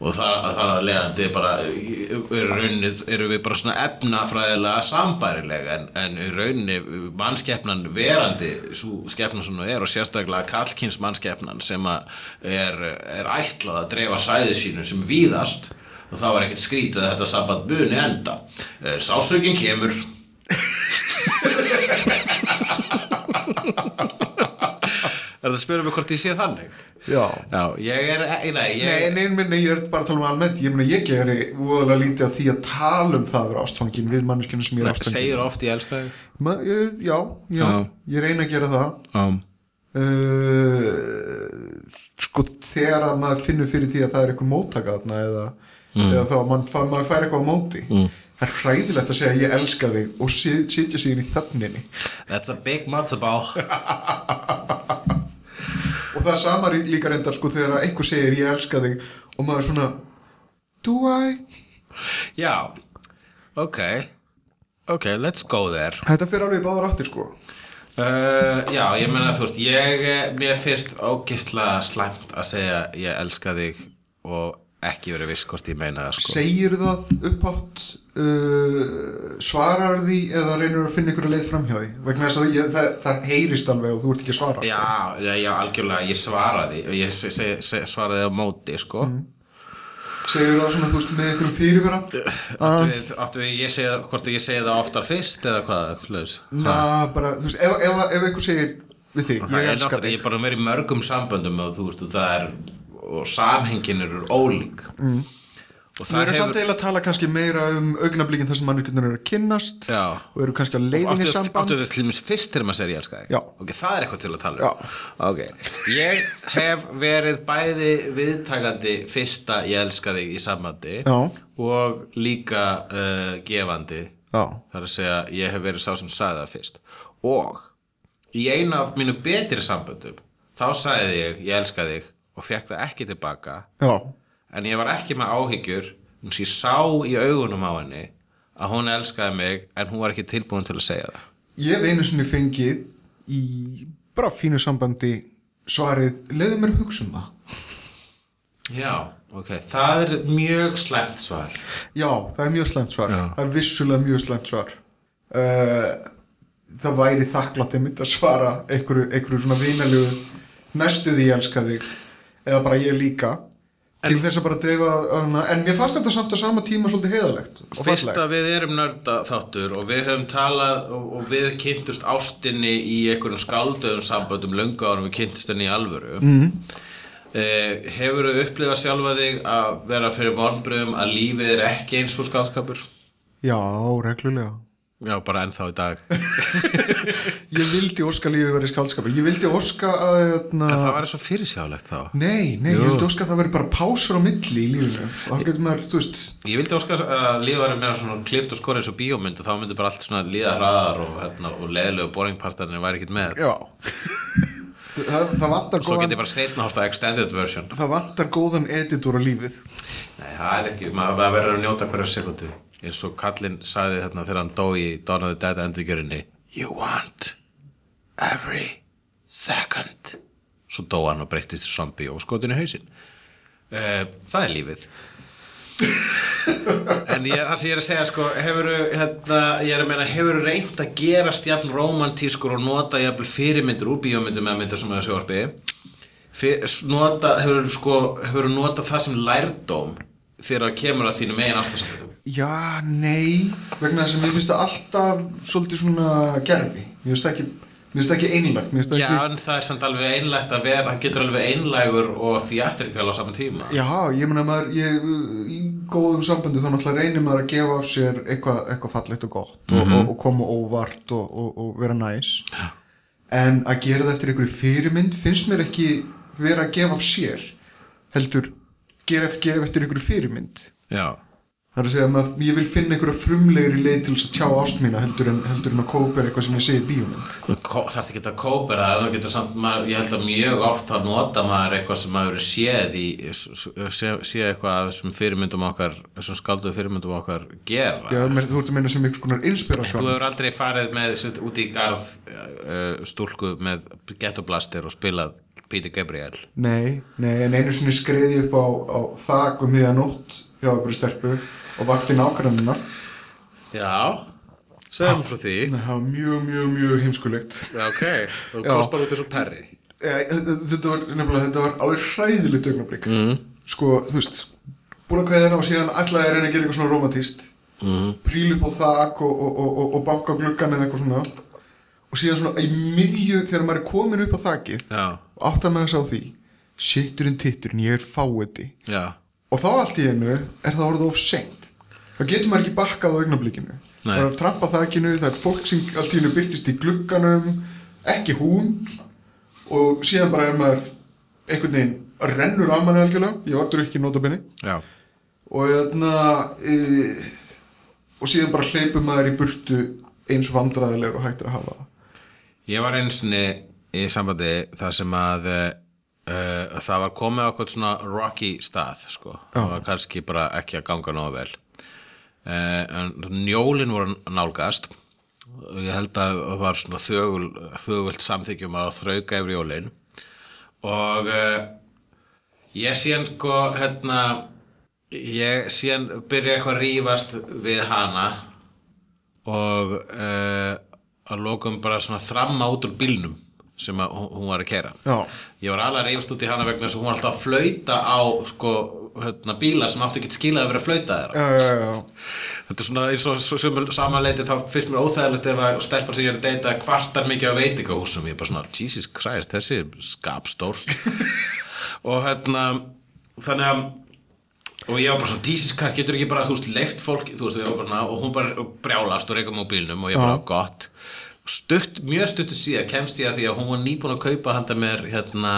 og það, það er leiðandi bara í rauninni eru við bara svona efnafræðilega sambærilega en, en í rauninni mannskeppnan verandi svo skeppna sem hún er og sérstaklega kallkins mannskeppnan sem að er, er ætlað að dreifa sæði sínu sem víðast og það var ekkert skrítið að þetta samband muni enda Eh, sásökin kemur Er það að spyrja mig hvort ég sé þannig?
Já
Já, ég er, nei, ég,
Nei, en einn minni, ég er bara að tala um almennt Ég meina, ég gerir voðalega lítið af því að tala um það að vera ástfangin við manneskinu sem ég er ástfangin
segir oft ég elska þig
Ma, ég, já, já,
Já.
ég reyna að gera það
um.
uh, sko þegar að maður finnur fyrir því að það er einhver móttaka þarna eða, eða þá að mann, fa- maður fær eitthvað á móti það er hræðilegt að segja ég elska þig og si- sitja síðan í þöfninni
That's a big matzo ball
og það er sama rí- líka reyndar sko þegar að einhver segir ég elska þig og maður er svona do I?
Já, ok Ok, let's go there
Þetta fyrir alveg í báðar áttir sko
uh, Já, ég meina þú veist Ég eh, mér fyrst ógisla slæmt að segja ég elska þig og ekki verið viss hvort ég meina það sko.
segir það uppátt uh, svarar því eða reynir að finna ykkur leið framhjá því vegna þess að ég, það, það heyrist alveg og þú ert ekki að svara sko.
Já, já, já, algjörlega, ég svaraði og ég se, se, se, svaraði á móti sko.
segir það svona þú veist með einhverjum fyrirvera
áttu, við, áttu við, ég segi, hvort ég segi það oftar fyrst eða hvað hlöðs
Na, bara, þú veist, ef, ef, ef einhver segir
Það
við þig, ég
er
elska
náttúrulega, ég
þig
er bara verið í mörgum samböndum og þú veist, og það er og samhengin eru ólík mm. og
Við
það
erum samt
hefur
eiginlega að tala kannski meira um augnablíkin þar sem mannvirkjörnur eru að kynnast
Já.
og eru kannski á leiðinni
áttu,
samband
áttu við til dæmis fyrst þegar maður segir ég elska þig
Já.
ok, það er eitthvað til að tala
Já.
um ok, ég hef verið bæði viðtakandi fyrsta ég elska þig í sambandi
Já.
og líka uh, gefandi
Já.
þar að segja ég hef verið sá sem sagði það fyrst og í einu af mínu betri samböndum þá sagði ég ég elska þig og fekk það ekki tilbaka
Já,
en ég var ekki með áhyggjur eins og ég sá í augunum á henni að hún elskaði mig en hún var ekki tilbúin til að segja það
ég hef einu sinni fengið í bara fínu sambandi svarið, leiðu mér að hugsa um það
Já, ok, það er mjög slæmt svar
Já, það er mjög slæmt svar það er vissulega mjög slæmt svar uh, það væri þakklátt einmitt að svara einhverju, einhverju svona vinalegu næstu því ég elska þig eða bara ég líka til þess að bara dreifa öfna, en mér fannst þetta samt á sama tíma svolítið heiðalegt og
Fyrst
fallegt
að við erum nörda þáttur og við höfum talað og, og við kynntust ástinni í einhverjum skálduðum samböndum löngu árum við kynntust henni í alvöru
Mhm.
mm. eh, Hefur þú upplifað sjálfa þig að vera fyrir vonbröðum að lífið er ekki eins og skálskapur?
Já, reglulega
Já, bara ennþá í dag
Ég vildi óska lífið verið skaldskapur Ég vildi óska að
En
öfna,
það var svo fyrirsjálegt þá
Nei, nei, ég vildi óska að það verið bara pásur á milli í lífinu og það getur maður, þú veist
Ég vildi óska að lífa verið meira svona klift og skora eins og bíómynd og þá myndi bara allt svona líða hraðar og, hérna, og leðilegu boringpartarnir væri ekkert með
Já Það, það vantar
Svo get
góðan
ég bara setna hórt að extended version
það vantar góðan editor á lífið
Nei, það er ekki, maður maður verður að njóta hverja sekundu eins og kallinn sagði þarna þegar hann dó í Dawn of the Dead endurgjörinni You want every second Svo dó hann og breyttist í zombie og skotinu hausinn uh, Það er lífið En ég, það sem ég er að segja sko, hefur, hérna, ég er að meina, hefur reynt að gerast jafn romantískur og nota jafn fyrirmyndir úr bíómyndum eða myndir sem er að sjóarpi Fyr, nota, hefur, sko, hefur nota það sem lærdóm þegar það kemur að þínum eigin ástasamböndum
Já, nei vegna þess að mér finnst það alltaf svolítið svona gerfi mér finnst það ekki, mér finnst það ekki einlægt mér finnst það
Já,
ekki,
en það er samt alveg einlægt að vera, það getur alveg einlægur og þjáttirkvæl á saman tíma
já, ég meina maður ég, í góðum sambandi þá náttúrulega reynir maður að gefa af sér eitthvað, eitthvað fallegt og gott og, og, og koma óvart og, og, og vera næs já. en að gera það eftir einhverju fyrirmynd finnst mér ekki vera að gefa af sér heldur gera, gera eftir einhverju fyrirmynd
Já,
Það er að segja að ég vil finna einhverja frumlegri leið til þess að tjá ást mína heldur en, heldur en að kópa er eitthvað sem ég sé í bíómynd.
þarf ekki að kópera en þú getur samt, maður, ég held að mjög oft þá nota maður eitthvað sem maður hefur séð í, sé, sé eitthvað af þessum fyrirmyndum okkar, þessum skálduðu fyrirmyndum okkar gera
Já, mér, þú ert að meina sem einhvers konar
Þú
inspirasjón.
hefur aldrei farið með sitt, út í garð uh, stúlku með gettoblastir og spilað Peter Gabriel
Nei, nei, en einu sinni skreiði upp á, á þak um miðja nótt hjá einhverju stelpu og vakti nákvæmna.
Já, segðum frá því
Það var mjög, mjög, mjög heimskulegt.
Ok, og
Já.
kostbar út eins og perri
Eh, Þetta var nefnilega, þetta var alveg hræðilegt augnablik. Mm. Sko, þú veist, búin að kveða hérna og síðan ætlaði að reyna að gera eitthvað svona romantíst. Mm. Príl upp á þak og, og, og, og, og banka á gluggan eða eitthvað svona. Og síðan svona í miðju, þegar maður er komin upp á þakið
Já,
og áttar maður sig á því, sitturinn titturinn, ég er fáiði.
já,
Og þá allt í einu er það orðið of seint. Það getur maður ekki bakkað á augnablikinu.
Nei.
Það er trampa þakinu, það er fólk sem allt í einu byrtist í glugganum, ekki hún. Og síðan bara er maður einhvern veginn rennur af manni algjörlega. Ég var drukkin notabene.
já
Og, þarna, e, og síðan bara hleypur maður í burtu eins og vandræðilegur og hægt er að hafa það.
Ég var einsinni í sambandi þar sem að uh, það var komið á okkur svona rocky stað sko. það var kannski bara ekki að ganga nógu vel uh, en njólin voru nálgast og ég held að það var svona þögul, þögult samþykjum að þrauka yfir jólin og uh, ég síðan sko hérna ég síðan byrja eitthvað að rífast við hana og uh, að lokum bara svona þramma út úr bílnum sem að, hún- hún var að kera
Já.
ég var alveg að reyfast út í hana vegna þess að hún var alltaf að flauta á sko, hérna, bíla sem áttu ekki skilað að vera að flauta þeirra
Já, já, já, já.
þetta er svona eins og svo sumul samanleiti þá finnst mér óþægilegt ef að stelpar sem ég er að deyta kvartar mikið á veitingahúsum ég er bara svona, Jesus Christ, þessi er skapstór og hérna þannig að og ég var bara svona, Jesus Christ, getur ekki bara þú veist, leift fólk, þú veist, við varum bara svona og hún bara brjálast og reykum á bílnum og ég bara,
Já.
gott stutt, mjög stuttu síðan kemst ég að því að hún var nýbúin að kaupa handa mér hérna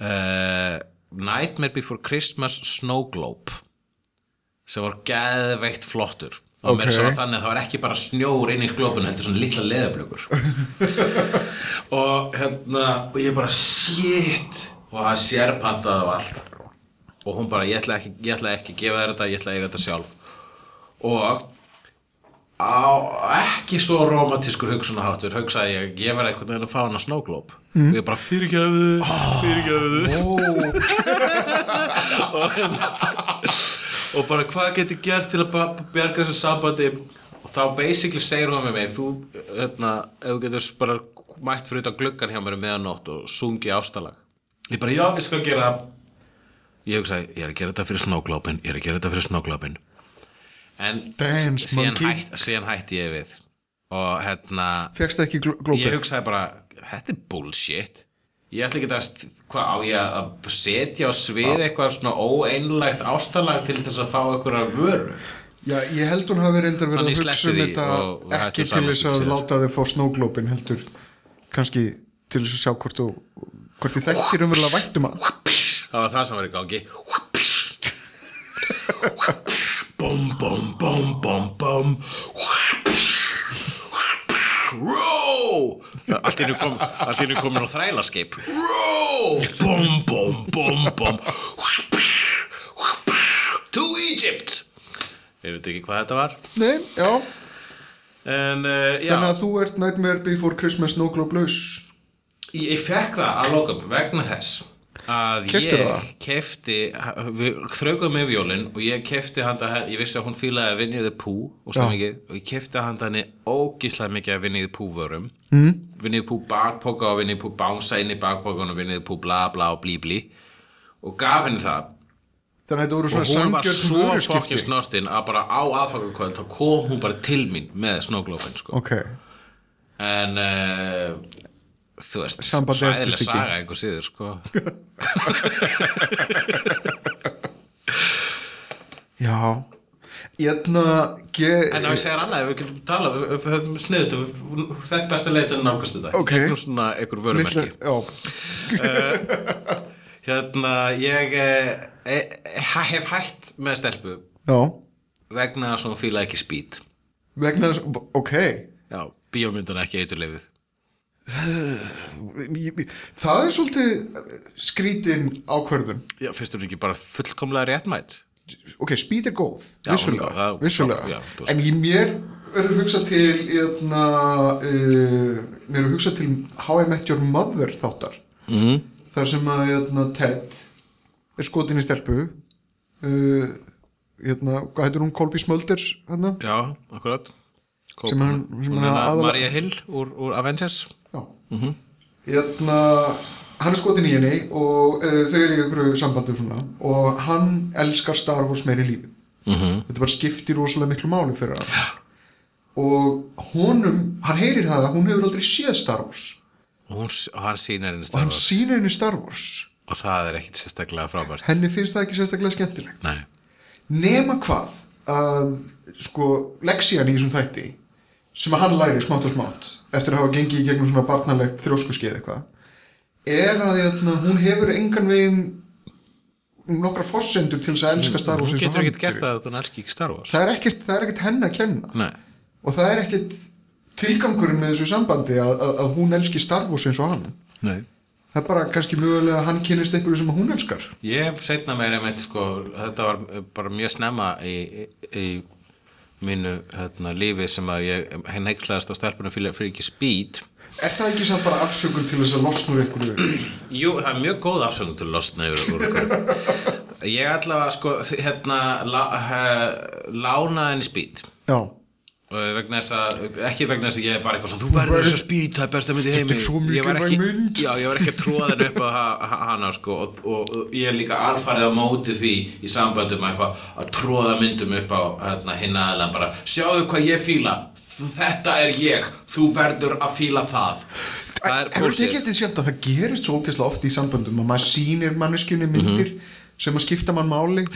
uh, Nightmare Before Christmas Snow Globe sem var geðveikt flottur og okay. mér
Ok.
sem var þannig að það var ekki bara snjór inn í glópun heldur svona litla leðablökur og hérna og ég bara shit og það sérpantaði og allt og hún bara ég ætla ekki, ég ætla ekki að gefa þér þetta ég ætla að eiga þetta sjálf og á, ekki svo romantískur hugsunaháttur hugsaði ég, ég verði einhvern veginn að fá hana snóglóp mm. og ég bara fyrirgjöfuðu,
Ah.
fyrirgjöfuðu og, hérna- og bara hvað get ég gert til að ba- bjarga þessu sambandi og þá basically segir hún með mig þú, hérna, ef þú getur bara mætt fyrir utan gluggan hjá mér um meðanótt og sungi ástalag ég bara, já, ég skal gera það ég hugsaði, ég er að gera þetta fyrir snóglópin ég er að gera þetta fyrir snóglópin en
Dance,
síðan,
monkey.
hætt, síðan hætti ég við og hérna
Fegst ekki gló-
ég
glópið?
hugsaði bara, þetta er bullshit ég ætla ekki að, hvað á ég að setja á svið eitthvað svona óeinlægt ástalag til þess að fá einhverja vöru
Já, ég held hún hafi reyndar verið
Þannig
að hugsa um
sleppti því
þetta
og- og
ekki
hættum
til
saman
þess
sem
að
sér.
láta þið fá snóglópin heldur kannski til þess að sjá hvort þú hvort þið þekkir um umverulega væntum að
það var það sem var í gangi bum bum bum bum bum Ró! Allt í hennu kom, allt í einu komin á þrælaskeip Ró! Bum, bum, bum, bum To Egypt Ég veit ekki hvað þetta var
Nei, já,
En, uh, já,
þannig að þú ert Nightmare Before Christmas Snowglobe laus
ég, ég fekk það að lokum vegna þess að
Keyptirðu
ég
það?
kefti, við þraukum með vjólin og ég kefti handa henni, ég vissi að hún fílaði að vinniði pú og
Já.
stemmingið og ég kefti handa henni ógíslega mikið að vinniði pú vörum, mm. vinniði pú bakpoka og vinniði pú bánsa inn í bakpokan og vinniði pú bla bla og blí blí og gaf henni það
Þannig að þetta voru
og
svona
hún var
sangjörn
svo fokkin
vöruskipti
snortin að bara á aðfakakvöld þá kom hún bara til mín með snóglófin sko.
Ok,
en uh, þú veist
Sambandið
hræðileg
entist ekki.
saga einhver síður sko.
já Ég ætla
en ef
ge-
ég segir annað, ef við getum tala við við höfum sniðut, við- þetta er besta leitin nálgast þetta,
Ok.
gegnum svona einhver vörumerki
litla- Já,
eh, hérna, ég e, e, hef hætt með stelpu
já
vegna þess að hún fílaði ekki speed
vegna þess, ok
já, bíómyndan ekki eiturlefið
það er svolítið skrítin ákvörðun
já, finnst hún ekki bara fullkomlega réttmætt
ok, speed er góð,
Já,
vissulega,
hún er góð, það-
vissulega.
já, þú veist.
en í mér verður hugsa til eitna, uh, mér verður hugsa til How I Met Your Mother þáttar
mm.
þar sem að eitna, Ted er skotin í stelpu uh, eitna, hvað heitir hún, Colby Smulders hérna?
já, akkurat Kóp,
Sem hann- sem
hún
hann
er
aðal-
aðal... Maria Hill úr, úr Avengers
já eitna, hann er skotin í henni og uh, þau eru í einhverju sambandi og svona, og hann elskar Star Wars meiri lífið
mm -hmm.
þetta bara skiptir rosalega miklu máli fyrir hann og honum, hann heyrir það að hún hefur aldrei séð Star Wars
og hún, s- og hann sýnir henni
og hann
starf
sýnir henni Star Wars
og það er ekkit sérstaklega frábært
henni finnst það ekki sérstaklega skemmtilegt
nei,
nema hvað að sko leksían í þessum þætti sem að hann læri smátt og smátt eftir að hafa gengið í gegnum svona barnalegt þrjóskuskeið eitthvað er að hérna, hún hefur engan veginn nokkra forsendur til þess að elska Star Wars
hún
eins og
getur
hann
ekkit gert
gerir.
það að hún elski ekki Star Wars
það er ekkert, það er ekkert henn að kenna
nei,
og það er ekkit tilgangurinn með þessu sambandi að, að, að hún elski Star Wars eins og hann
nei
það er bara kannski mögulega að hann kynist einhverju sem hún elskar
Ég hef setna meir einmitt sko, þetta var eh, bara mjög snemma í, í, í mínu hérna, lífi sem að ég neikslaðast á stelpunum fyrir, fyrir ekki speed.
er það ekki samt bara afsökun til þess að losna úr einhverju
Jú, það er mjög góð afsögn til að losna yfir úr okkur. Ég allavega sko, hérna, lá, he, lánaði henni speed.
já,
Eh, vegna þess að, ekki vegna þess að ég var eitthvað svona, þú verður þessu speed, það er besta myndi heimi
er svo
Ég var
mikilvæg
ekki-
mynd.
já, ég var ekki að tróða þenni upp á ha- ha- hana sko, og, og, og ég er líka alfarið á móti því í samböndum eitthvað að tróða myndum upp á hérna, hinn aðeins bara, sjáðu hvað ég fíla þetta er ég, þú verður að fíla það það er
hefur þið ekki
bullshit
eftir sjönd að það gerist svo ógeðslega oft í samböndum að maður sýnir
Mhm.
manneskjunni myndir sem að skipta mann máli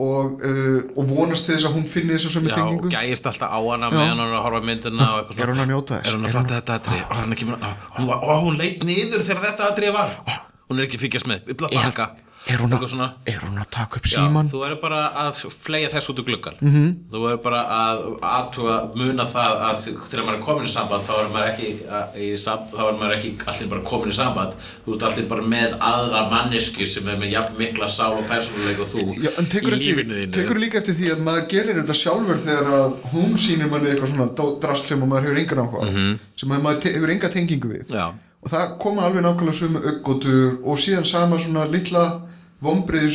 og, uh, og vonast til þess að hún finni þess að sömu
Já, og
tengingu
gæist alltaf á hana meðan hún er að horfa á myndina og eitthvað
Er hún að njóta þess?
Er hún að
Er
fatta þetta aðri? Ó, hann, kemur, ó, hún, var, ó, hún leit niður þegar þetta aðri var. Ó, hún er ekki að fíkjast með. Bla, bla, bla,
er hún,
Eitthvað
að,
svona.
er hún að taka upp
Já,
síman
þú verður bara að fleia þess út úr gluggan -hmm.
Mhm.
þú verður bara að aðtúa muna það að til að maður er komin í samband þá er maður ekki, að, í, sam- þá er maður ekki allir bara komin í samband þú ert allir bara með aðra mannesku sem er með jafn mikla sál og persónuleik og þú
Já, en tekur,
í
eftir,
lífinu þínu
tekur líka eftir því að maður gerir þetta sjálfur þegar að hún sýnir manni eitthvað svona dó- drasl sem að maður hefur engan áhuga mm
Mhm.
sem að maður te- hefur enga tengingu við
Já,
og það koma alveg nákvæmlega sömu auggótur og síðan sama svona litla vombriðis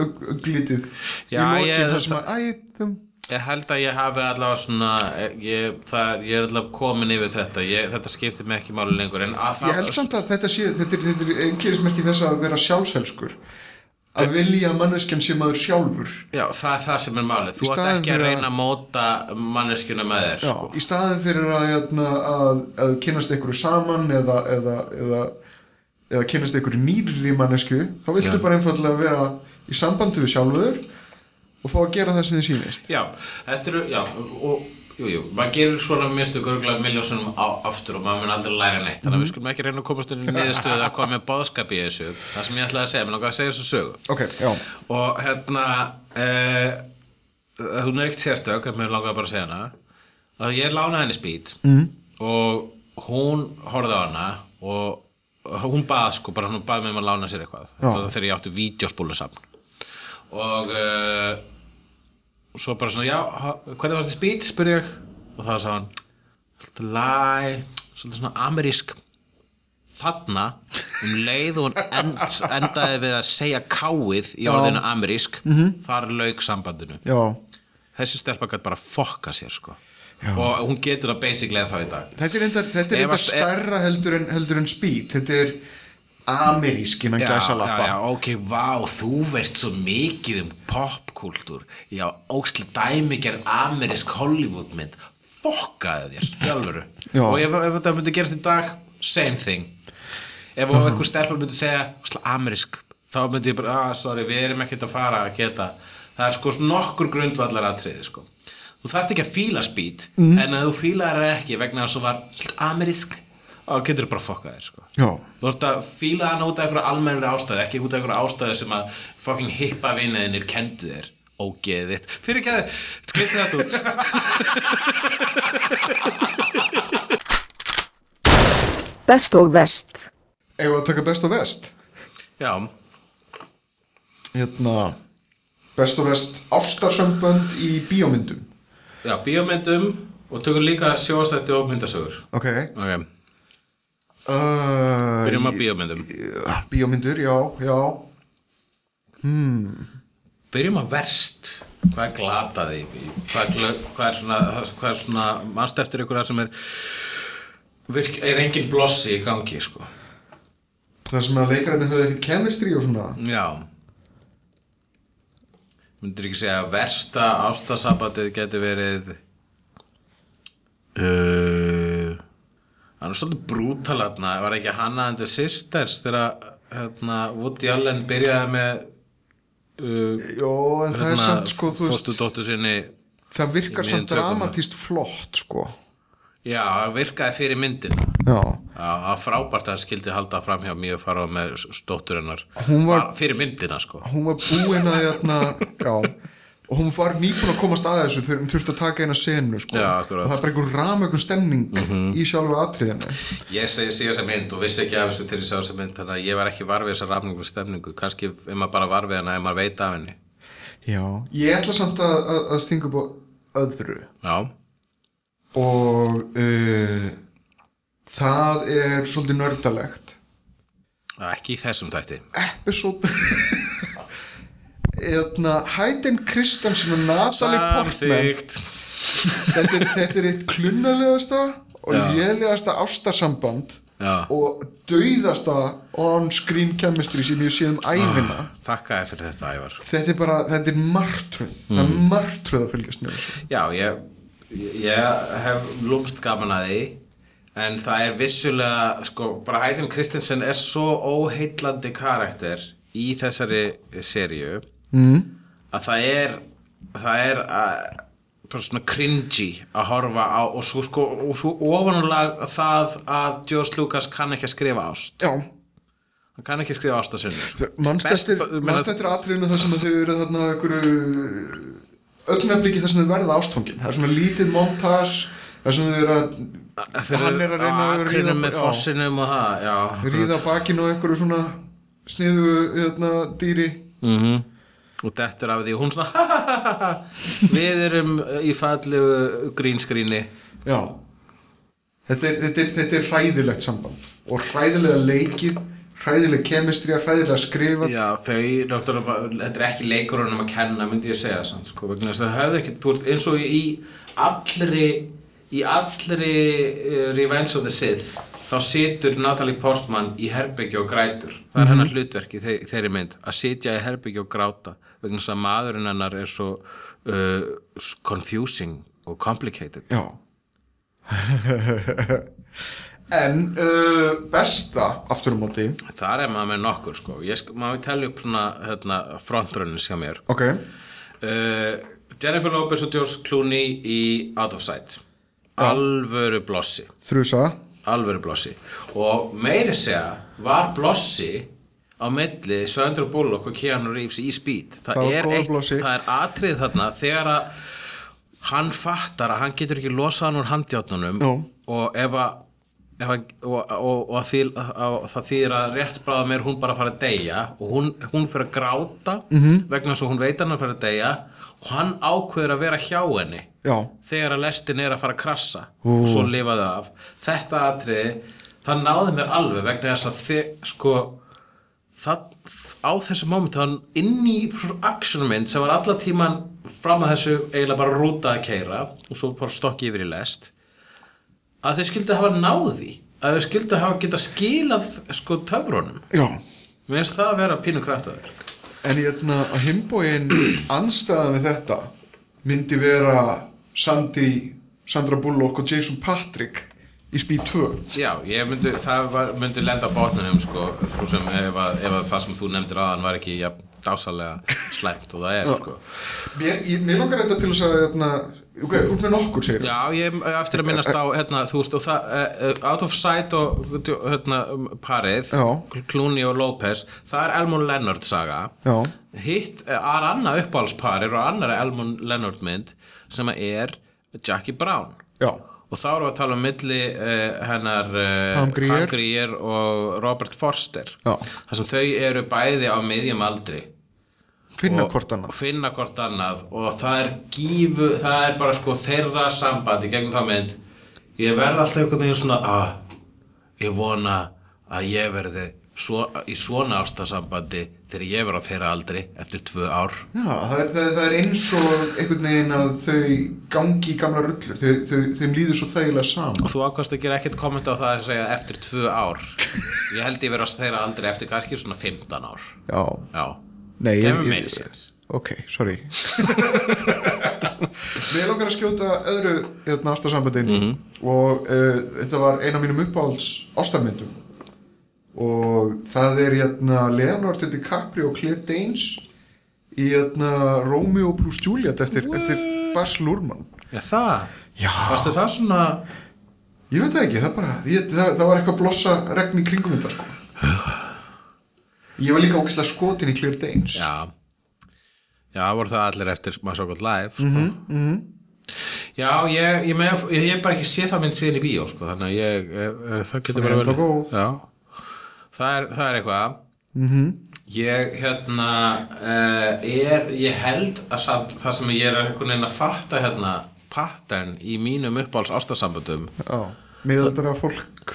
auglitið í
Já,
lokin
ég-
þar sem að æ, þeim,
ég held að ég hafi allavega svona eh, ég, það, ég er allavega komin yfir þetta ég, þetta skiptir mig ekki máli lengur en að
ég
það
held samt að þetta sé þetta er, þetta er einkerismerki þess að vera sjálfshelskur að vilja að manneskjan sé maður sjálfur
Já, það er það sem er málið. Þú átt
staðinn
ekki að
fyrir að-
reyna að móta manneskjuna með þér.
Já, sko. í staðin fyrir að, hérna, að, að kynast einhverju saman eða, eða, eða, eða kynast einhverju nýrri mannesku þá viltu bara einfallega vera í sambandi við sjálfur og fá að gera það sem þið sýnist
Já, þetta eru, já, og jú, jú, maður gerir svona mistök örgulega miljósunum á aftur og maður mun aldrei læra neitt
Mhm.
þannig að við skulum ekki reyna að komast inn í niðurstöðu að koma með bóðskap í þessu það sem ég ætlaði að segja, mér langaði að segja þessu sögu
Ok, já,
og hérna eh, eh, hún er ekkert sérstök en mér langaði bara að segja hana að ég lánaði henni spýt mm. og hún horfði á hana og og hún bað sko, bara hún bað mig um að lána sér eitthvað þetta var þegar ég átti vídeospúlusafn og eh, og svo bara svona, já, ha- hvernig varst þið spýt, spurði ég og það sagði hann svolítið læ, svolítið svona amerísk þarna um leið og hún end, endaði við að segja káið í orðinu amerísk þar lauk sambandinu
já
þessi stelpa gætt bara fokka sér sko og hún getur það basically en þá í dag
Þetta er enda, þetta er
Ef
enda
að-
stærra heldur en, heldur en speed Þetta er amerískin að
já,
gæsa
já,
lappa
ok, vá, þú veist svo mikið um popkúltúr já, óksli dæmigerð amerísk Hollywoodmynd fokkaði þér, í alvöru
Já.
og ef, ef þetta myndi gerast í dag same thing ef uh einhver stelpur myndi segja óksla amerísk, þá myndi ég bara ah, sorry, við erum ekkert að fara að geta það er sko nokkur grundvallar atriði sko. þú þarft ekki að fíla spýt
Mhm.
en að þú fílar það ekki vegna þess að svo var "Svolítið amerísk þá getur þú bara fokkað þér sko.
Já,
Þú ert að fíla hana út af einhverja almennri ástæðu, ekki út af einhverja ástæðu sem að fucking hippa vinniðinir kendu þér. ógeðið þitt fyrir ekki að skrifta þetta út
Best og vest.
Eða að taka best og vest
já,
Hérna Best og vest ástarsömbönd í bíómyndum
já, bíómyndum og tökum líka sjóastætti og myndasögur
Ok
ok,
uh,
byrjum að bíómyndum
í- Bíómyndur, já, já
byrjum að verst hvað er glataði í- í- hvað, er gla- hvað er svona, hvað er svona manst eftir ykkur að sem er virk, er engin blossi í gangi sko.
Það sem að leikararnir höfðu ekkert kemistri og svona
já myndir ekki segja að versta ástasabatið geti verið uh, hann er svolítið brútal hérna, var ekki Hanna and the Sisters þegar hérna, Woody Allen byrjaði með uh,
Jó, en það er samt sko, þú veist
fórstu dóttu sinni
Það virkar
í miðjum
samt
tökum.
dramatíst flott, sko
Já, það virkaði fyrir myndin
Já
Já, það var frábært að hann skildi halda fram hjá mjög fara með stóttur hennar
Hún var-
Bara fyrir myndina sko
hún var búin að hérna, já, og hún var nýbúin að komast að þessu þegar hún þurfti að taka eina senu sko.
Já, akkurat. Mhm.
og það er bara einhver ramökun stemning í sjálfu atriðinu
Ég segi síðan sem mynd og vissi ekki af þessu til ég sá þessa mynd þannig að ég var ekki var við þessa rafningu stemningu kannski ef maður bara var við hana ef maður veit af henni
já. ég ætla samt að, að, að stinga upp á öðru
Já,
og uh, það er svolítið nördalegt
það er ekki í þessum þætti
episode Eðna, Hayden Christensen og Natalie Portman
Samþykkt
þetta er, þetta er eitt klunnalegasta og
Já.
lélegasta ástarsamband
Já.
og dauðasta on-screen chemistry sem ég sé um
Ah.
æfina
Þakka þér fyrir þetta, Ævar
þetta er bara, þetta er martröð það er
Hmm.
martröð að fylgjast með þessu
Já, ég, ég hef lúmst gaman að því en það er vissulega, sko, bara Hayden Christensen er svo óheillandi karakter í þessari seríu mm. að það er það er að bara svona cringy að horfa á og svo sko, og svo ofanulega það að George Lucas kann ekki að skrifa ást
já,
hann kann ekki að skrifa ást að sinni Best-
mannstættir
meina-
mannstættir atriðinu þar sem að þau eru þarna einhverju ögnafliki þar sem þau verða ástfangin það er svona lítið montage þar sem þau eru að hann er að reyna að ríða-
akrinu með
já.
fossinum og það, já
ríða bakinu á einhverju svona sniðu hérna, dýri
mm og dettur af því og hún svona "Ha, ha, ha, ha, ha." við erum uh, í fallegu grínskríni
Já Þetta er, þetta, er, þetta er hræðilegt samband og hræðilega leikið hræðileg kemistrija, hræðilega skrifað
já þau náttúrulega bara- þetta er ekki leikurunum að kenna myndi ég segja samt, sko, vegna þess að það höfðu ekkert búrt eins og í allri í allri uh, Revenge of the Sith þá situr Natalie Portman í herbyggju og grætur það er hennar hlutverki þe þeirri mynd að sitja í herbyggju og gráta vegna þess að maðurinn hennar er svo uh, confusing og complicated
Já En uh, besta aftur á móti
Þar er maður með nokkur sko ég, sk- maður telja upp svona hérna, frontrunnis hjá mér
Ok,
uh, Jennifer Lopez og George Clooney í Out of Sight alvöru blossi
þrjusa
alvöru blossi og meiri segja var blossi á milli Sandra Bullock og Keanu Reeves í Speed það,
Það var
er
góður
eitt,
blossi.
það er atrið þarna þegar að hann fattar að hann getur ekki losað hann úr handjátnunum
Já.
og ef að Ef, að- og, og, og, því, og það þýðir að rétt bráða mér hún bara að fara að deyja og hún, hún fyrir að gráta
Mhm.
-hmm. vegna þess að hún veit hann að fara að deyja og hann ákveður að vera hjá henni
Já,
þegar að lestin er að fara að krassa og svo lifaðu af þetta atriði, það náði mér alveg vegna þess að þið, sko það, á þessu moment þann inn í actionmynd sem var alla tíman fram að þessu eiginlega bara rúta að keira og svo bara stokki yfir í lest að þau skildi hafa náði að þau skildi hafa geta skilað sko töfrunum
já
mér finnst það að vera pínu kraftaverk
En hérna á himbóin anstæðan við þetta myndi vera Sandy, Sandra Bullock og Jason Patrick í Speed 2
Já, ég myndi, það var, myndi lenda á bátnunum sko, svo sem ef að, ef að það sem þú nefndir aðan var ekki ja, dásalega slæmt og það er sko.
Mér, ég, mér langar þetta til þess að hérna, ok, þú ert með nokkur segir
Já, ég er eftir að minnast á hérna, þú veist, og það, uh, Out of Sight og hérna, parið
Já.
Clooney og Lopez, það er Elmon Leonard saga
Já.
hitt eh, er annað uppáhaldsparir og annar Elmon Leonard mynd sem að er Jackie Brown
já,
og þá erum við að tala um milli uh, hennar uh,
Pam Grier.
Grier og Robert Forster
Já.
þar sem þau eru bæði á miðjum aldri
finna
og-
hvort annað
og finna hvort annað og það er gífu, það er bara sko þeirra sambandi gegnum þá mynd ég verð alltaf einhvern veginn svona að ég vona að ég verði svo, í svona ástasambandi þegar ég verð á þeirra aldri eftir tvö ár
Já, það er, það, er, það er eins og einhvern veginn að þau gangi í gamla rullur, þau, þau, þeim líður svo þægilega saman.
og þú ákvæmst að gera ekkert komment á það að segja eftir tvö ár ég held ég verð á þeirra aldri eftir kannski svona 15 ár
Já,
já,
nei,
gefum meiri séns
ok, sorry. Mér langar að skjóta öðru hérna ástasambandin og uh, þetta var eina af mínum uppáhalds ástarmyndum og það er hérna Leonardo DiCaprio og Claire Danes í hérna Romeo plus Juliet eftir, eftir Bas Lurman.
já, það,
Já.
varstu það svona
Ég veit það ekki, það bara, ég, það, það var eitthvað blossa regn í kringum þetta sko. Ég var líka ógeðslega skotin í Claire Danes.
Já Já, voru það allir eftir maður svo gott live sko.
Mhm,
Já, ég, ég, með, ég, ég bara ekki sé það minn síðan í bíó sko, þannig að ég, e, e, það getur
Hún er
bara
ennþá góð.
Já Það er, það er eitthvað
Mhm.
Ég, hérna, e, er, ég held að samt, það sem ég er einhvern veginn að fatta hérna pattern í mínum uppáhalds ástasamböndum
Já. Miðaldara fólk,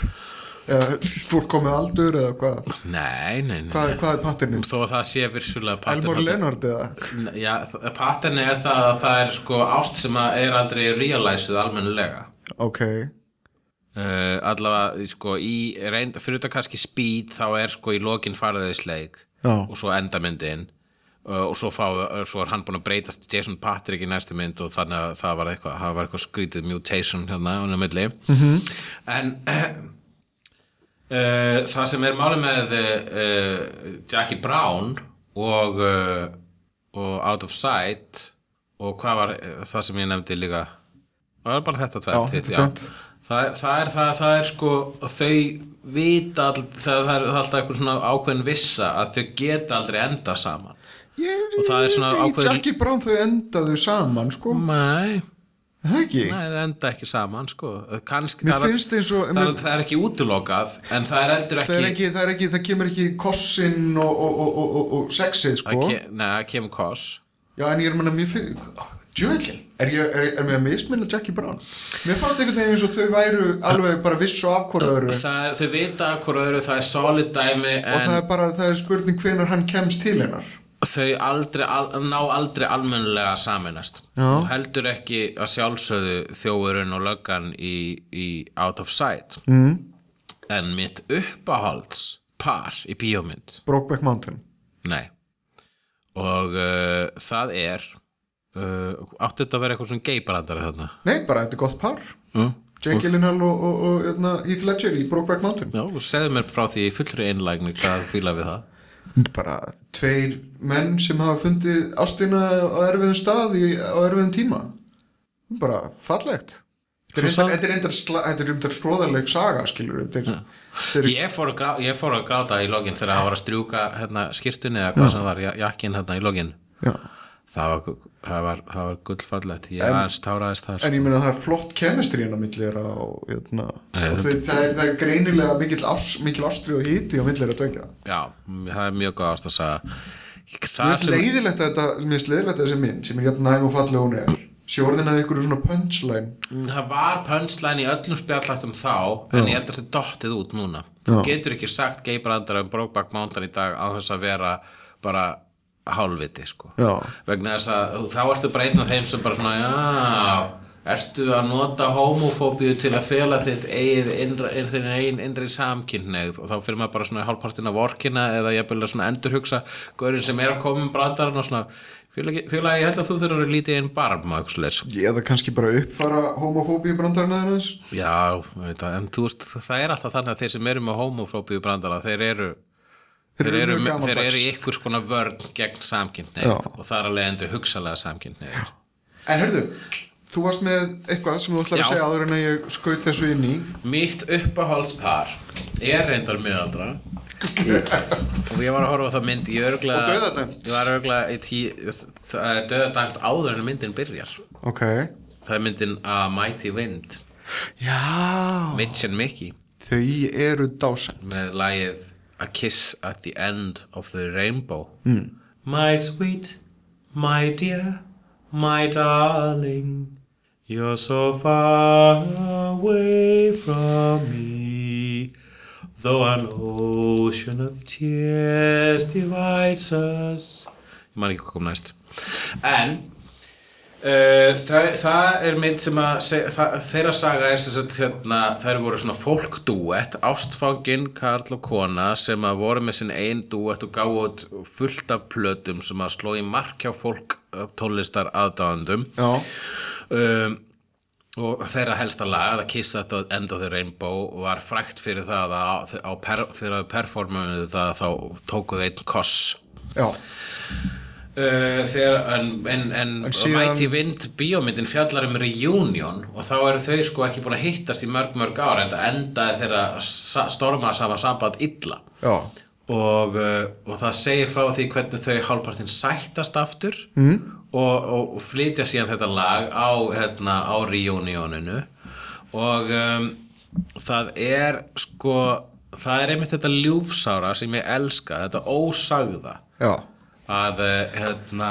eða fólk komið aldur eða hvað,
Nei, nei, nei
hvað, hvað er patternin?
Þó að það sé virsulega pattern
Elmore
þarna-
Leonard eða?
Já, pattern er það að það er sko ást sem að er aldrei realizeð almennilega
Ok,
uh, allavega sko í reynd, fyrir þetta kannski speed þá er sko í lokin faraðið sleik
Já.
og svo endamyndin uh, og svo, fá, uh, svo er hann búin að breytast Jason Patrick í næstu mynd og þannig að það var eitthvað, það var eitthvað skrítið mutation hérna á nefnilli mm -hmm. en Uh, það sem er máli með uh, Jackie Brown og, uh, og Out of Sight og hvað var uh, það sem ég nefndi líka það var bara þetta
Já,
tvennt hitt,
þetta
já.
tvennt.
það, er- það, er, það, það er sko og þau vita all, það, það er alltaf einhver svona ákveðin vissa að þau geta aldrei enda saman
ég,
Og það er svona
ég-
ákveðin-
Jackie Brown þau endaðu saman sko,
Nei,
Er það ekki?
nei, þau enda ekki saman sko. Kansk,
Mér
það, var-
finnst eins og-
það,
mér-
er- það er ekki útilokað en það er eldur
Það, er ekki, það, er ekki, það kemur ekki kossinn og, og, og, og, og, og sexið sko.
það ke- Nei, það kemur koss
Já, en ég er að menna mér fyrir... Djöðlin, er, ég- er, er mér að misminna Jackie Brown? Mér fannst einhvern veginn eins og þau væru alveg bara viss og afkvaraður og
það, þau vita hvort öðru það er solid dæmi en
það er bara, það er spurning hvenar hann kemst til hennar.
þau aldrei, al, ná aldrei almennilega saminast
Já.
og heldur ekki að sjálfsögðu þjóðurinn og löggan í, í Out of Sight mm. en mitt uppáhalds par í bíómynd
Brokeback Mountain.
nei og uh, það er uh, átti þetta að vera eitthvað svona geibrandari þarna
Nei, bara þetta er gott par.
mm.
Jake Gyllenhaal og, og, og, hérna, Heath Ledger í Brokeback Mountain.
já, segðu mér frá því í fullri einlægni hvað þú fíla við það
Bara tveir menn sem hafa fundið ástina á erfiðum stað í, á erfiðum tíma. Bara fallegt. Þetta er
Svo
reyndar- þetta er reyndar sla- þetta er reyndar hróðaleg saga, skilur. Þetta er, þetta er
Ég fór, að grá, ég fór að gráta í lokin þegar það var að strjúka hérna, skýrtunni eða hvað sem var, ja- jakkin hérna í lokin
Já.
það var, gu- það var, það var gullfallegt ég aðeins táraðist þar
En ég meina það er flott kemestrín á millera og, hérna,
Nei,
og þeir, það, er, það er greinilega mikil, ás, mikil ástri og híti á millera tvekja. Já,
Já, m- það er mjög góð ást að sagða
mér
það
finnst
sem
leiðilegt að þetta, mér finnst leiðilegt að þessi mynd sem er jafn næm og falleg og hún er. Sjórðin að ykkur svona punchline.
það var pönslæn í öllum spjallættum þá en ég held að þetta dottið út núna þú
Já.
getur ekki sagt geibrandara um Brokeback Mountain í dag á þess að vera bara hálfviti sko
Já.
vegna þess að þá ertu bara einn af þeim sem bara svona, já, ertu að nota homofóbíu til að fela þitt eigið innra, inn, þinn eigin innri samkynneigð og þá fyrir maður bara svona hálfpartin af orkina eða ég byrja svona endurhugsa gaurinn sem er að koma um brandarann og svona félagi, ég held að þú þurfur að lítið einn barm og eitthvað svoleiðis.
Eða kannski bara uppfara homofóbíu brandarinn aðeins.
já, ég veit það, en þú veist það er alltaf þannig að þeir sem eru með homofóbíu brandara, þeir eru
Þeir
Þeir
eru
eru,
mjög gamaldags.
þeir eru í ykkur skona vörn gegn samkynneið
Já.
og það er alveg endur hugsalega samkynneið
En hörðu, Þú varst með eitthvað sem þú ætlar
Já.
að segja áður en að ég skaut þessu inn í
Mitt uppahaldspar er reyndar miðaldra og ég var að horfa á það mynd ég örgla,
Og dauðadæmt.
ég var örgla í tí, það er döðadæmt áður en myndin byrjar
Ok
það er myndin A Mighty Wind
Já
Mitch and Mickey
Þau eru dásend
með lagið A Kiss at the End of the Rainbow My sweet, my dear, my darling You're so far away from me Though an ocean of tears divides us Ég man ekki hvað kom næst En Uh, það, það er mynd sem að seg- það, þeirra saga er sem sagt hérna, þær voru svona fólkdúett ástfangin Karl og kona sem að voru með sinn ein dúett og gáðu út fullt af plötum sem að sló í mark hjá fólk uh, tónlistar aðdáðandum
Já
um, og þeirra helsta lag að kissa þetta End of the Rainbow var frækt fyrir það að á, á per, þegar þau performuðu það þá tóku þau einn koss
Já
Uh, þegar, en, en, en,
En síðan-
Mighty Wind bíómyndin fjallar um reunion og þá eru þau sko ekki búin að hittast í mörg mörg ár en það endaði þeirra sa- storma sama samband illa
Já
og, uh, og það segir frá því hvernig þau hálfpartin sættast aftur mm. og, og, og flytja síðan þetta lag á, hérna, á reunioninu og um, það er sko það er einmitt þetta ljúfsára sem ég elska, þetta ósagða
Já
að eh, hérna,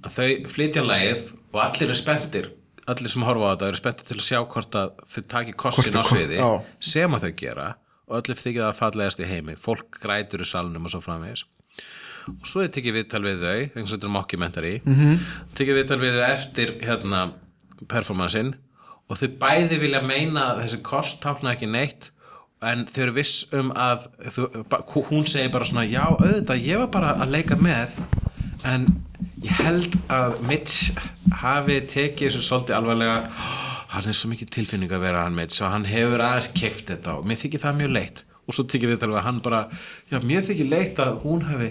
að þau flytja lagið og allir eru spenntir allir sem horfa á þetta eru spenntir til að sjá hvort að þau taki kossin
Hvort
á
þau-
sviði
já.
sem að þau gera og allir þykir það fallegast í heimi fólk grætur í salnum og svo framvegis og svo er tekið viðtal við þau eins og þetta er mockumentary mm
Mhm.
-hmm. tekið viðtal við þau eftir hérna, performancein og þau bæði vilja meina að þessi kost tákna ekki neitt en þau eru viss um að þú, ba- hún segir bara svona já auðvitað ég var bara að leika með en ég held að Mitch hafi tekið þessu svolítið alvarlega hann er svo mikið tilfinning að vera hann Mitch og hann hefur aðeins keft þetta og mér þykir það mjög leitt og svo tekið viðtal við að hann bara já mér þykir leitt að hún hafi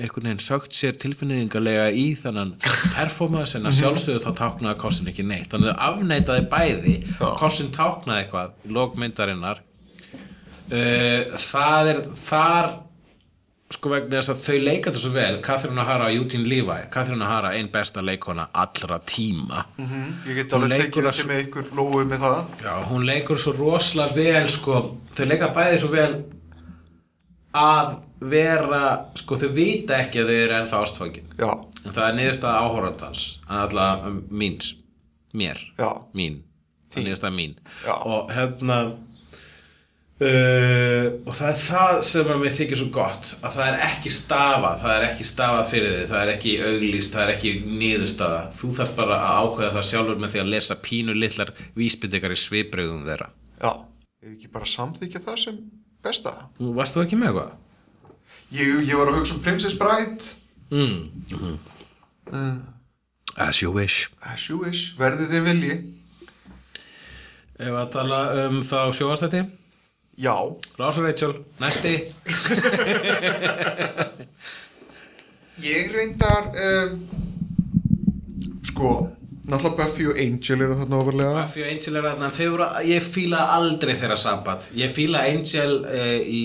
einhvern veginn sögt sér tilfinningarlega í þannan performance en að sjálfsögðu þá táknaði kossin ekki neitt þannig að afneitaði bæði kossin táknaði eitthvað í lókmyndarinnar uh, það er þar sko vegna þess að þau leika þetta svo vel Catherine O'Hara og Eugene Levi Catherine O'Hara ein besta leikona allra tíma
Ég get
Hún
alveg
leikur
tekið
að-
ekki með ykkur lóu með það
Já, hún leikur svo rosalega vel sko, þau leika bæði svo vel að vera sko, þau vita ekki að þau eru ennþá ástfangin
Já
en það er niðurstaða áhorandans alltaf míns, mér
Já.
mín, það er niðurstaða mín
Já.
og hérna uh, og það er það sem að mér þykir svo gott að það er ekki stafað, það er ekki stafað fyrir þig það er ekki auglýst, það er ekki niðurstaða þú þarft bara að ákveða það sjálfur með því að lesa pínu litlar vísbyndingar í sviprögum þeirra
Já Ef ekki bara samþykja það sem besta
Nú, Varst þú ekki með eitthvað?
Ég, ég var að hugsa um Princess Bride
Mm. Mhm. Eh. As you wish
As you wish Verðið þið vilji
Ef að tala um þá sjóastætti
Já
Rás og Rachel, næsti
Ég reyndar um, Sko Náttúrulega Buffy og Angel eru þarna ofarlega
Buffy og Angel er þarna en þau voru, ég fíla aldrei þeirra samband ég fíla Angel uh, í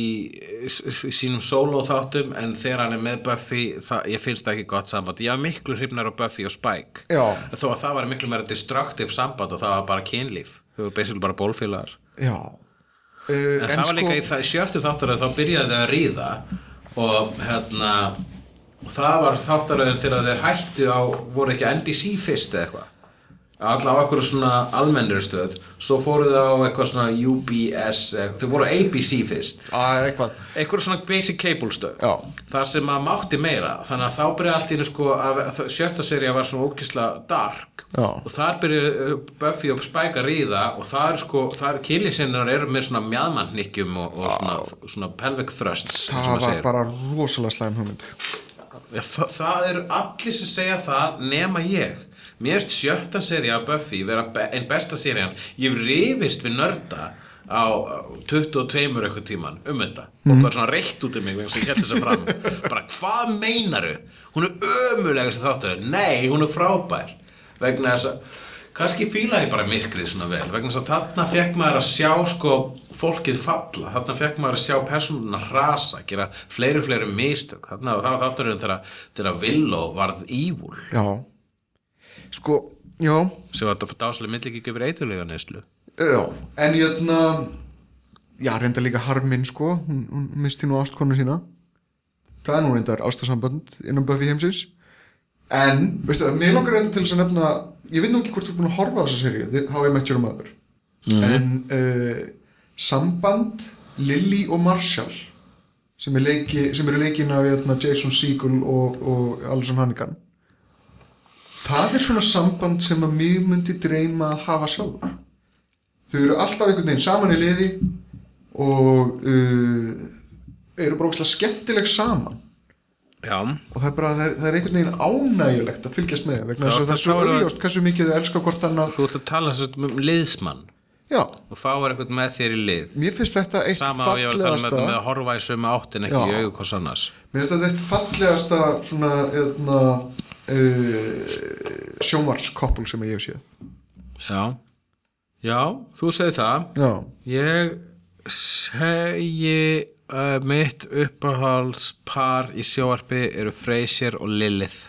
s- s- sínum solo þáttum en þegar hann er með Buffy það, ég finnst það ekki gott samband ég var miklu hrifnar á Buffy og Spike
Já.
þó að það var miklu meira destructive samband og það var bara kynlíf þau voru basically bara bólfélagar
Já Uh,
en, það var líka í það, sjöttu þáttaröð þá byrjaði þau að ríða og hérna og það var þáttaröðin þegar þeir hættu á voru ekki NBC fyrst eða eitthvað allavega á einhverju svona almennir stöð svo fóru þau á eitthvað svona UBS eitthvað. þau voru á ABC fyrst
Að eitthvað
einhverju svona basic cable stöð
Já.
þar sem að mátti meira þannig að þá byrjaði allt í hennu sko að, það- sjötta serið var svona ókislega dark
Já.
og þar byrjaði uh, Buffy og Spike að ríða og þar sko, þar kýlisinnar eru með svona mjadmannhyggjum og, og svona, svona pelvic thrusts eins og
Það
maður
var
segir.
bara rosalega slæm hugmynd
Já, það, það eru allir sem segja það nema ég Mér erst sjötta serið af Buffy vera be einn besta serían Ég hef rifist við nörda á á 22 eitthvað tíman um þetta
Mhm.
og það er svona reykt út um mig vegna sem ég held þessu fram bara hvað meinaru? Hún er ömulega sem þáttu Nei, hún er frábær vegna þess að kannski fíla ég bara myrkrið svona vel vegna þess að þarna fekk maður að sjá sko fólkið falla, þarna fekk maður að sjá persónuna hrasa, gera fleiri og fleiri mistök, þarna það var þátturinn þegar, þegar Villó varð ívul
já sko, já
sem var þetta dáslega millikík yfir eitulega neyslu
Já, en jötna já, reynda líka harminn sko hún, hún misti nú ástkonu sína það er nú reyndar ástasamband innan Buffy heimsins en, veistu, mér langar reynda til þess að nefna ég veit nú ekki hvort þú er búin að horfa á þessa seríu How I Met Your Mother en uh, samband Lily og Marshall sem, er leiki, sem eru leikin af jötna, Jason Segel og, og Alison Hannigan það er svona samband sem að mig myndi dreyma að hafa sjálfur þau eru alltaf einhvern veginn saman í liði og uh, eru bara ógæslega skemmtileg saman
Já,
og það er bara, það er, það er einhvern veginn ánægjulegt að fylgjast með vegna
Já,
þess að það
það
er svo
sára-
auðljóst hversu mikið þau elska hvort annað
þú ert að tala sem um liðsmann
já,
og fáir eitthvað með þér í lið
mér finnst þetta eitt
sama og ég var að tala um með
fallegasta
þetta með að horfa í sömu áttin ekki
Já.
í augu hvers annars
mér finnst þetta eitt fallegasta svona eðna, uh, sjómarskoppul sem ég hef séð
Já, já, þú segir það
já,
Ég segi uh, mitt uppáhaldspar í sjóarpi eru Freysier og Lilith.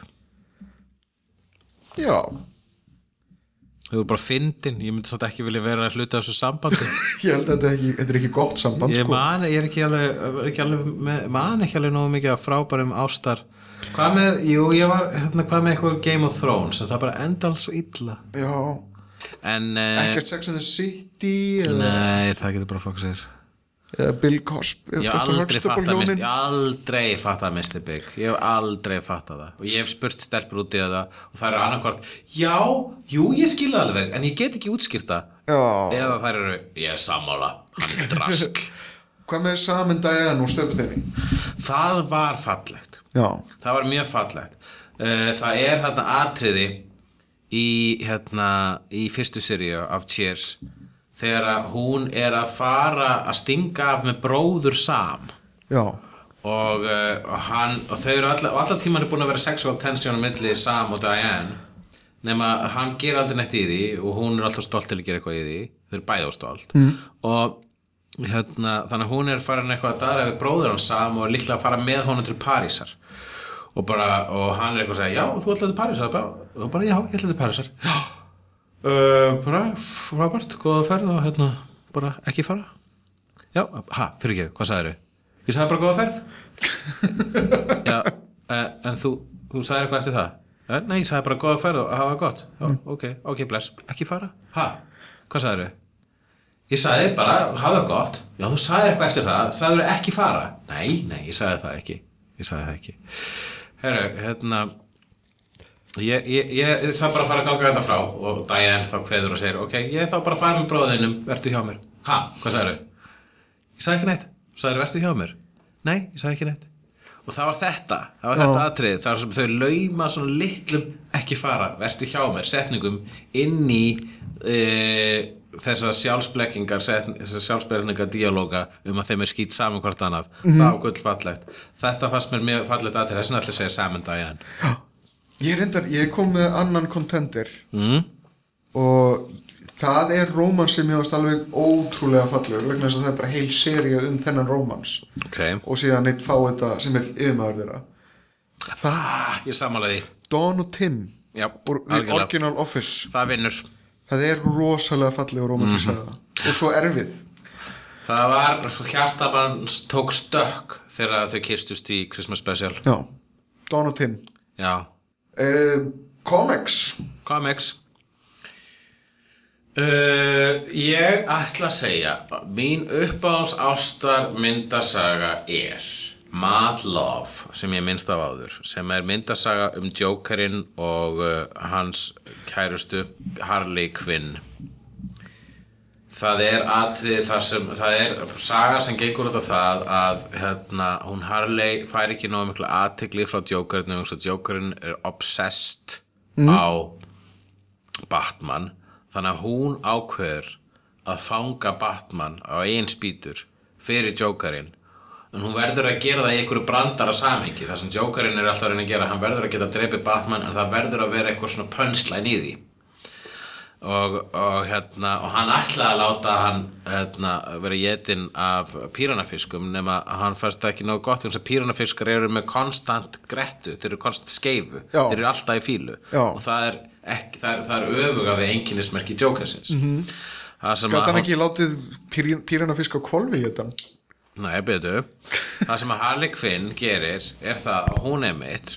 já
Þau eru bara fyndin, ég myndi samt ekki vilja vera að hluta af þessu sambandi.
ég held að þetta, er ekki, þetta er ekki gott samband
Ég
sko.
man, ég er ekki alveg, er ekki alveg með- man ekki alveg nógu mikið af frábærum ástar. Hvað með, jú, ég var, hérna, hvað með eitthvað Game of Thrones, en það bara enda alls svo illa.
já,
En, eh,
ekkert Sex and the City eða,
nei, það getur bara fokk sér.
eða Bill Cosby
Ég hef aldrei fatt að misti, ég hef aldrei fatt að misti bygg, ég hef aldrei fatt að það og ég hef spurt stelpur út í það og það eru annarkvort, já, jú, ég skil það alveg, en ég get ekki útskýrt það
Já,
eða það eru, ég er sammála, hann er drast.
hvað með saman dæjan og stöputegni?
það var fallegt,
Já,
það var mjög fallegt. Eh, Það er þarna atriði í, hérna, í fyrstu seríu af Cheers þegar að hún er að fara að stinga af með bróður sam.
já,
og, uh, og hann og þau eru alla, og alla tíman er búin að vera sexual tension á milli Sam og Diane nema hann ger aldrei neitt í því og hún er alltaf stolt til að gera eitthvað í því þau eru bæði á stolt mm. og hérna, þannig að hún er farin eitthvað að dara við bróður hans Sam og er líklega að fara með honum til Parísar og, bara, og hann er eitthvað að segja, já, þú ætlaði til Parísar Bara- og hún bara, já, ég ætlaði til Parísar já, uh, bara, f- Robert, góða ferð og hérna, bara ekki fara já, ha, fyrir ekki, hvað sagðið ég sagði bara góða ferð Já, eh, en þú, þú sagði eitthvað eftir það? Eh, Nei, ég sagði bara góða ferð og hafa það gott. Já, ok, ok, bless. Ekki fara? Ha? Hvað sagði þau? Ég sagði bara, hafa það gott. Já, þú sagði eitthvað eftir það. Sagði þau ekki fara? Nei, nei, ég sagði það ekki. Ég sagði það ekki. Herru, hérna, ég, ég, ég ég þarf bara að fara að ganga þetta frá og Diane þá kveður og segir, ok, ég er þá bara að fara með bróðinum, vertu hjá mér. Ha? Hvað sagði þau? ég sagði ekki neitt, þú sagði verður hjá mér nei, ég sagði ekki neitt og það var þetta, það var þetta atrið þar sem þau lauma svona litlum ekki fara, verður hjá mér, setningum inn í e, þessar sjálfsblekkingar setn- þessar sjálfsblekkingar díalóga um að þeim er skýt saman hvort annað það var gullfallegt, þetta fannst mér mjög fallegt atrið, þess vegna ætla ég að segja saman dagjan
ég reyndar, ég kom með annan kontender
mm?
og það er rómans sem ég varst alveg ótrúlega fallegur vegna þess að það er bara heil seria um þennan rómans
ok,
og síðan eitt fá þetta sem er yfirmaður þeirra
ah, ég samanlega því
Don og Tim
Já,
úr The
algjörlega.
Original Office
það vinnur
það er rosalega fallegur romantísaða mm
Mhm.
og svo erfið
Það var, hjartabann tók stökk þegar þau kistust í Christmas Special.
já, Don og Tim
Já.
uh, Comics
Comics. Uh, ég ætla að segja, mín uppáhalds ástar myndasaga er Mad Love, sem ég minnst af áður, sem er myndasaga um Jokerinn og uh, hans kærustu Harley Quinn. Það er atrið þar sem, það er saga sem gengur út af það að hérna, hún Harley fær ekki nógu mikla aðtegli frá Jokerinu og Jokerinn er obsessed á Batman þannig að hún ákveður að fanga Batman á einn spýtur fyrir Jokerinn en hún verður að gera það í einhverju brandara samhengi þar sem Jokerinn er alltaf að reyna að gera hann verður að geta að drepi Batman en það verður að vera eitthvað svona punchline í því og, og, hérna, og hann ætlaði að láta hann hérna, vera getinn af píranafiskum nema að hann fæst ekki nógu gott vegna þess að píranafiskar eru með konstant grettu, þeir eru konstant skeifu
Já.
þeir eru alltaf í fílu
Já.
og það er, ekki, það er, það er öfuga við einkennismerki djókasins mm -hmm. það sem að
Mhm. Gat hann
hann-
ekki látið pírin, píranafisk á kvolfi í þetta?
Nei, betur. Það sem að Harley Quinn gerir er það að hún er mitt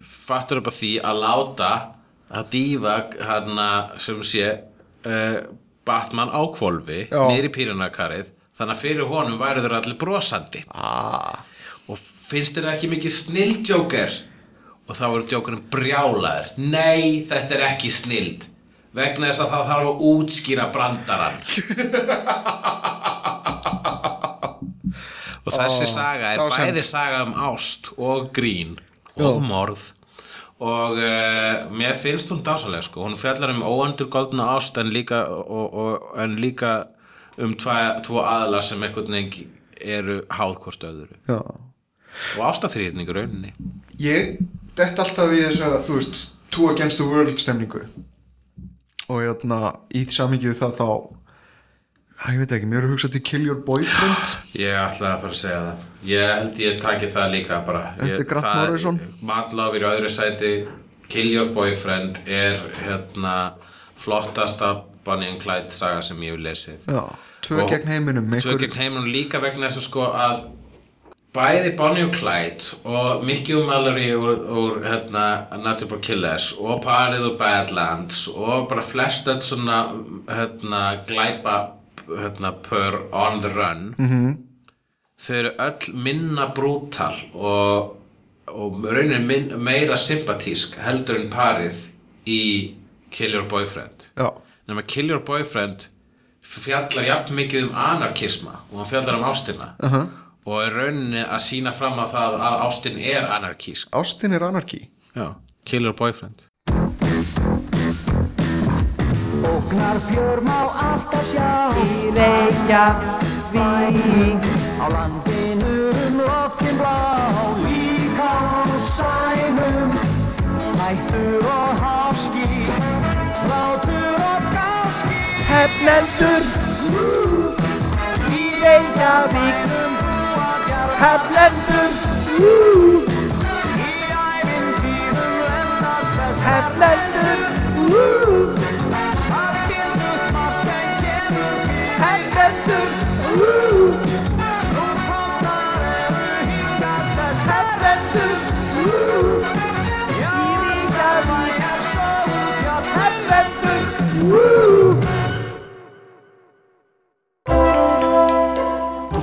fattur upp á því að láta að dýfa hana sem sé uh, Batman á kvolfi
Já.
niður í pírunakarið þannig að fyrir honum væru þeir allir brosandi
Ah.
og finnst þér ekki mikið snildjóker og þá voru djókurinn brjálaður nei, þetta er ekki snild vegna þess að það þarf að útskýra brandarann og þessi saga er
dásemd.
bæði saga um ást og grín og morð og uh, mér finnst hún dásaleg sko, hún fjallar um óöndurgoldna ást en líka, og, og, en líka um tva, tvo aðla sem einhvern veginn eru háð hvort öðru
Já.
og ástafrýrning í rauninni
Ég dett alltaf í þess að, þú veist, two against the world stemningu. Og hérna, í samhengi við það þá, Æ, ég veit ekki, mér er hugsað til Kill Your Boyfriend.
ég ætlaði að fara að segja það ég held ég taki það líka bara Ég-
Eftir Grant
það-
Morrison?
Matlof er í öðru sæti Kill Your Boyfriend er hérna flottasta Bonnie and Clyde saga sem ég hef lesið
Já. Tvö
Og-
gegn heiminum,
Tvö
einhver-
gegn heiminum líka vegna þess að sko að bæði Bonnie og Clyde og Mickey og Mallory úr, úr hérna, Natural Born Killers og parið úr Badlands og bara flest öll svona hérna, glæpa hérna, per on the run
Mhm.
-hmm. þau eru öll minna brútal og, og raunin minn, meira sympatísk heldur en parið í Kill Your Boyfriend
Já.
nema Kill Your Boyfriend fjallar jafn mikið um anarkisma og hann fjallar um ástina -huh. og er rauninni að sína fram á það að ástin er anarkísk
Ástin er anarki.
Já, Kill Your Boyfriend
Ógnar má alltaf sjá Í Reykjavík Á landinu um loftin blá Líka á sænum Hættur og háski Látur og gáski Hefnendur Í Reykjavík Hefnendur Í ævintýrum lendar þess Hefnendur Hefnendur
Þú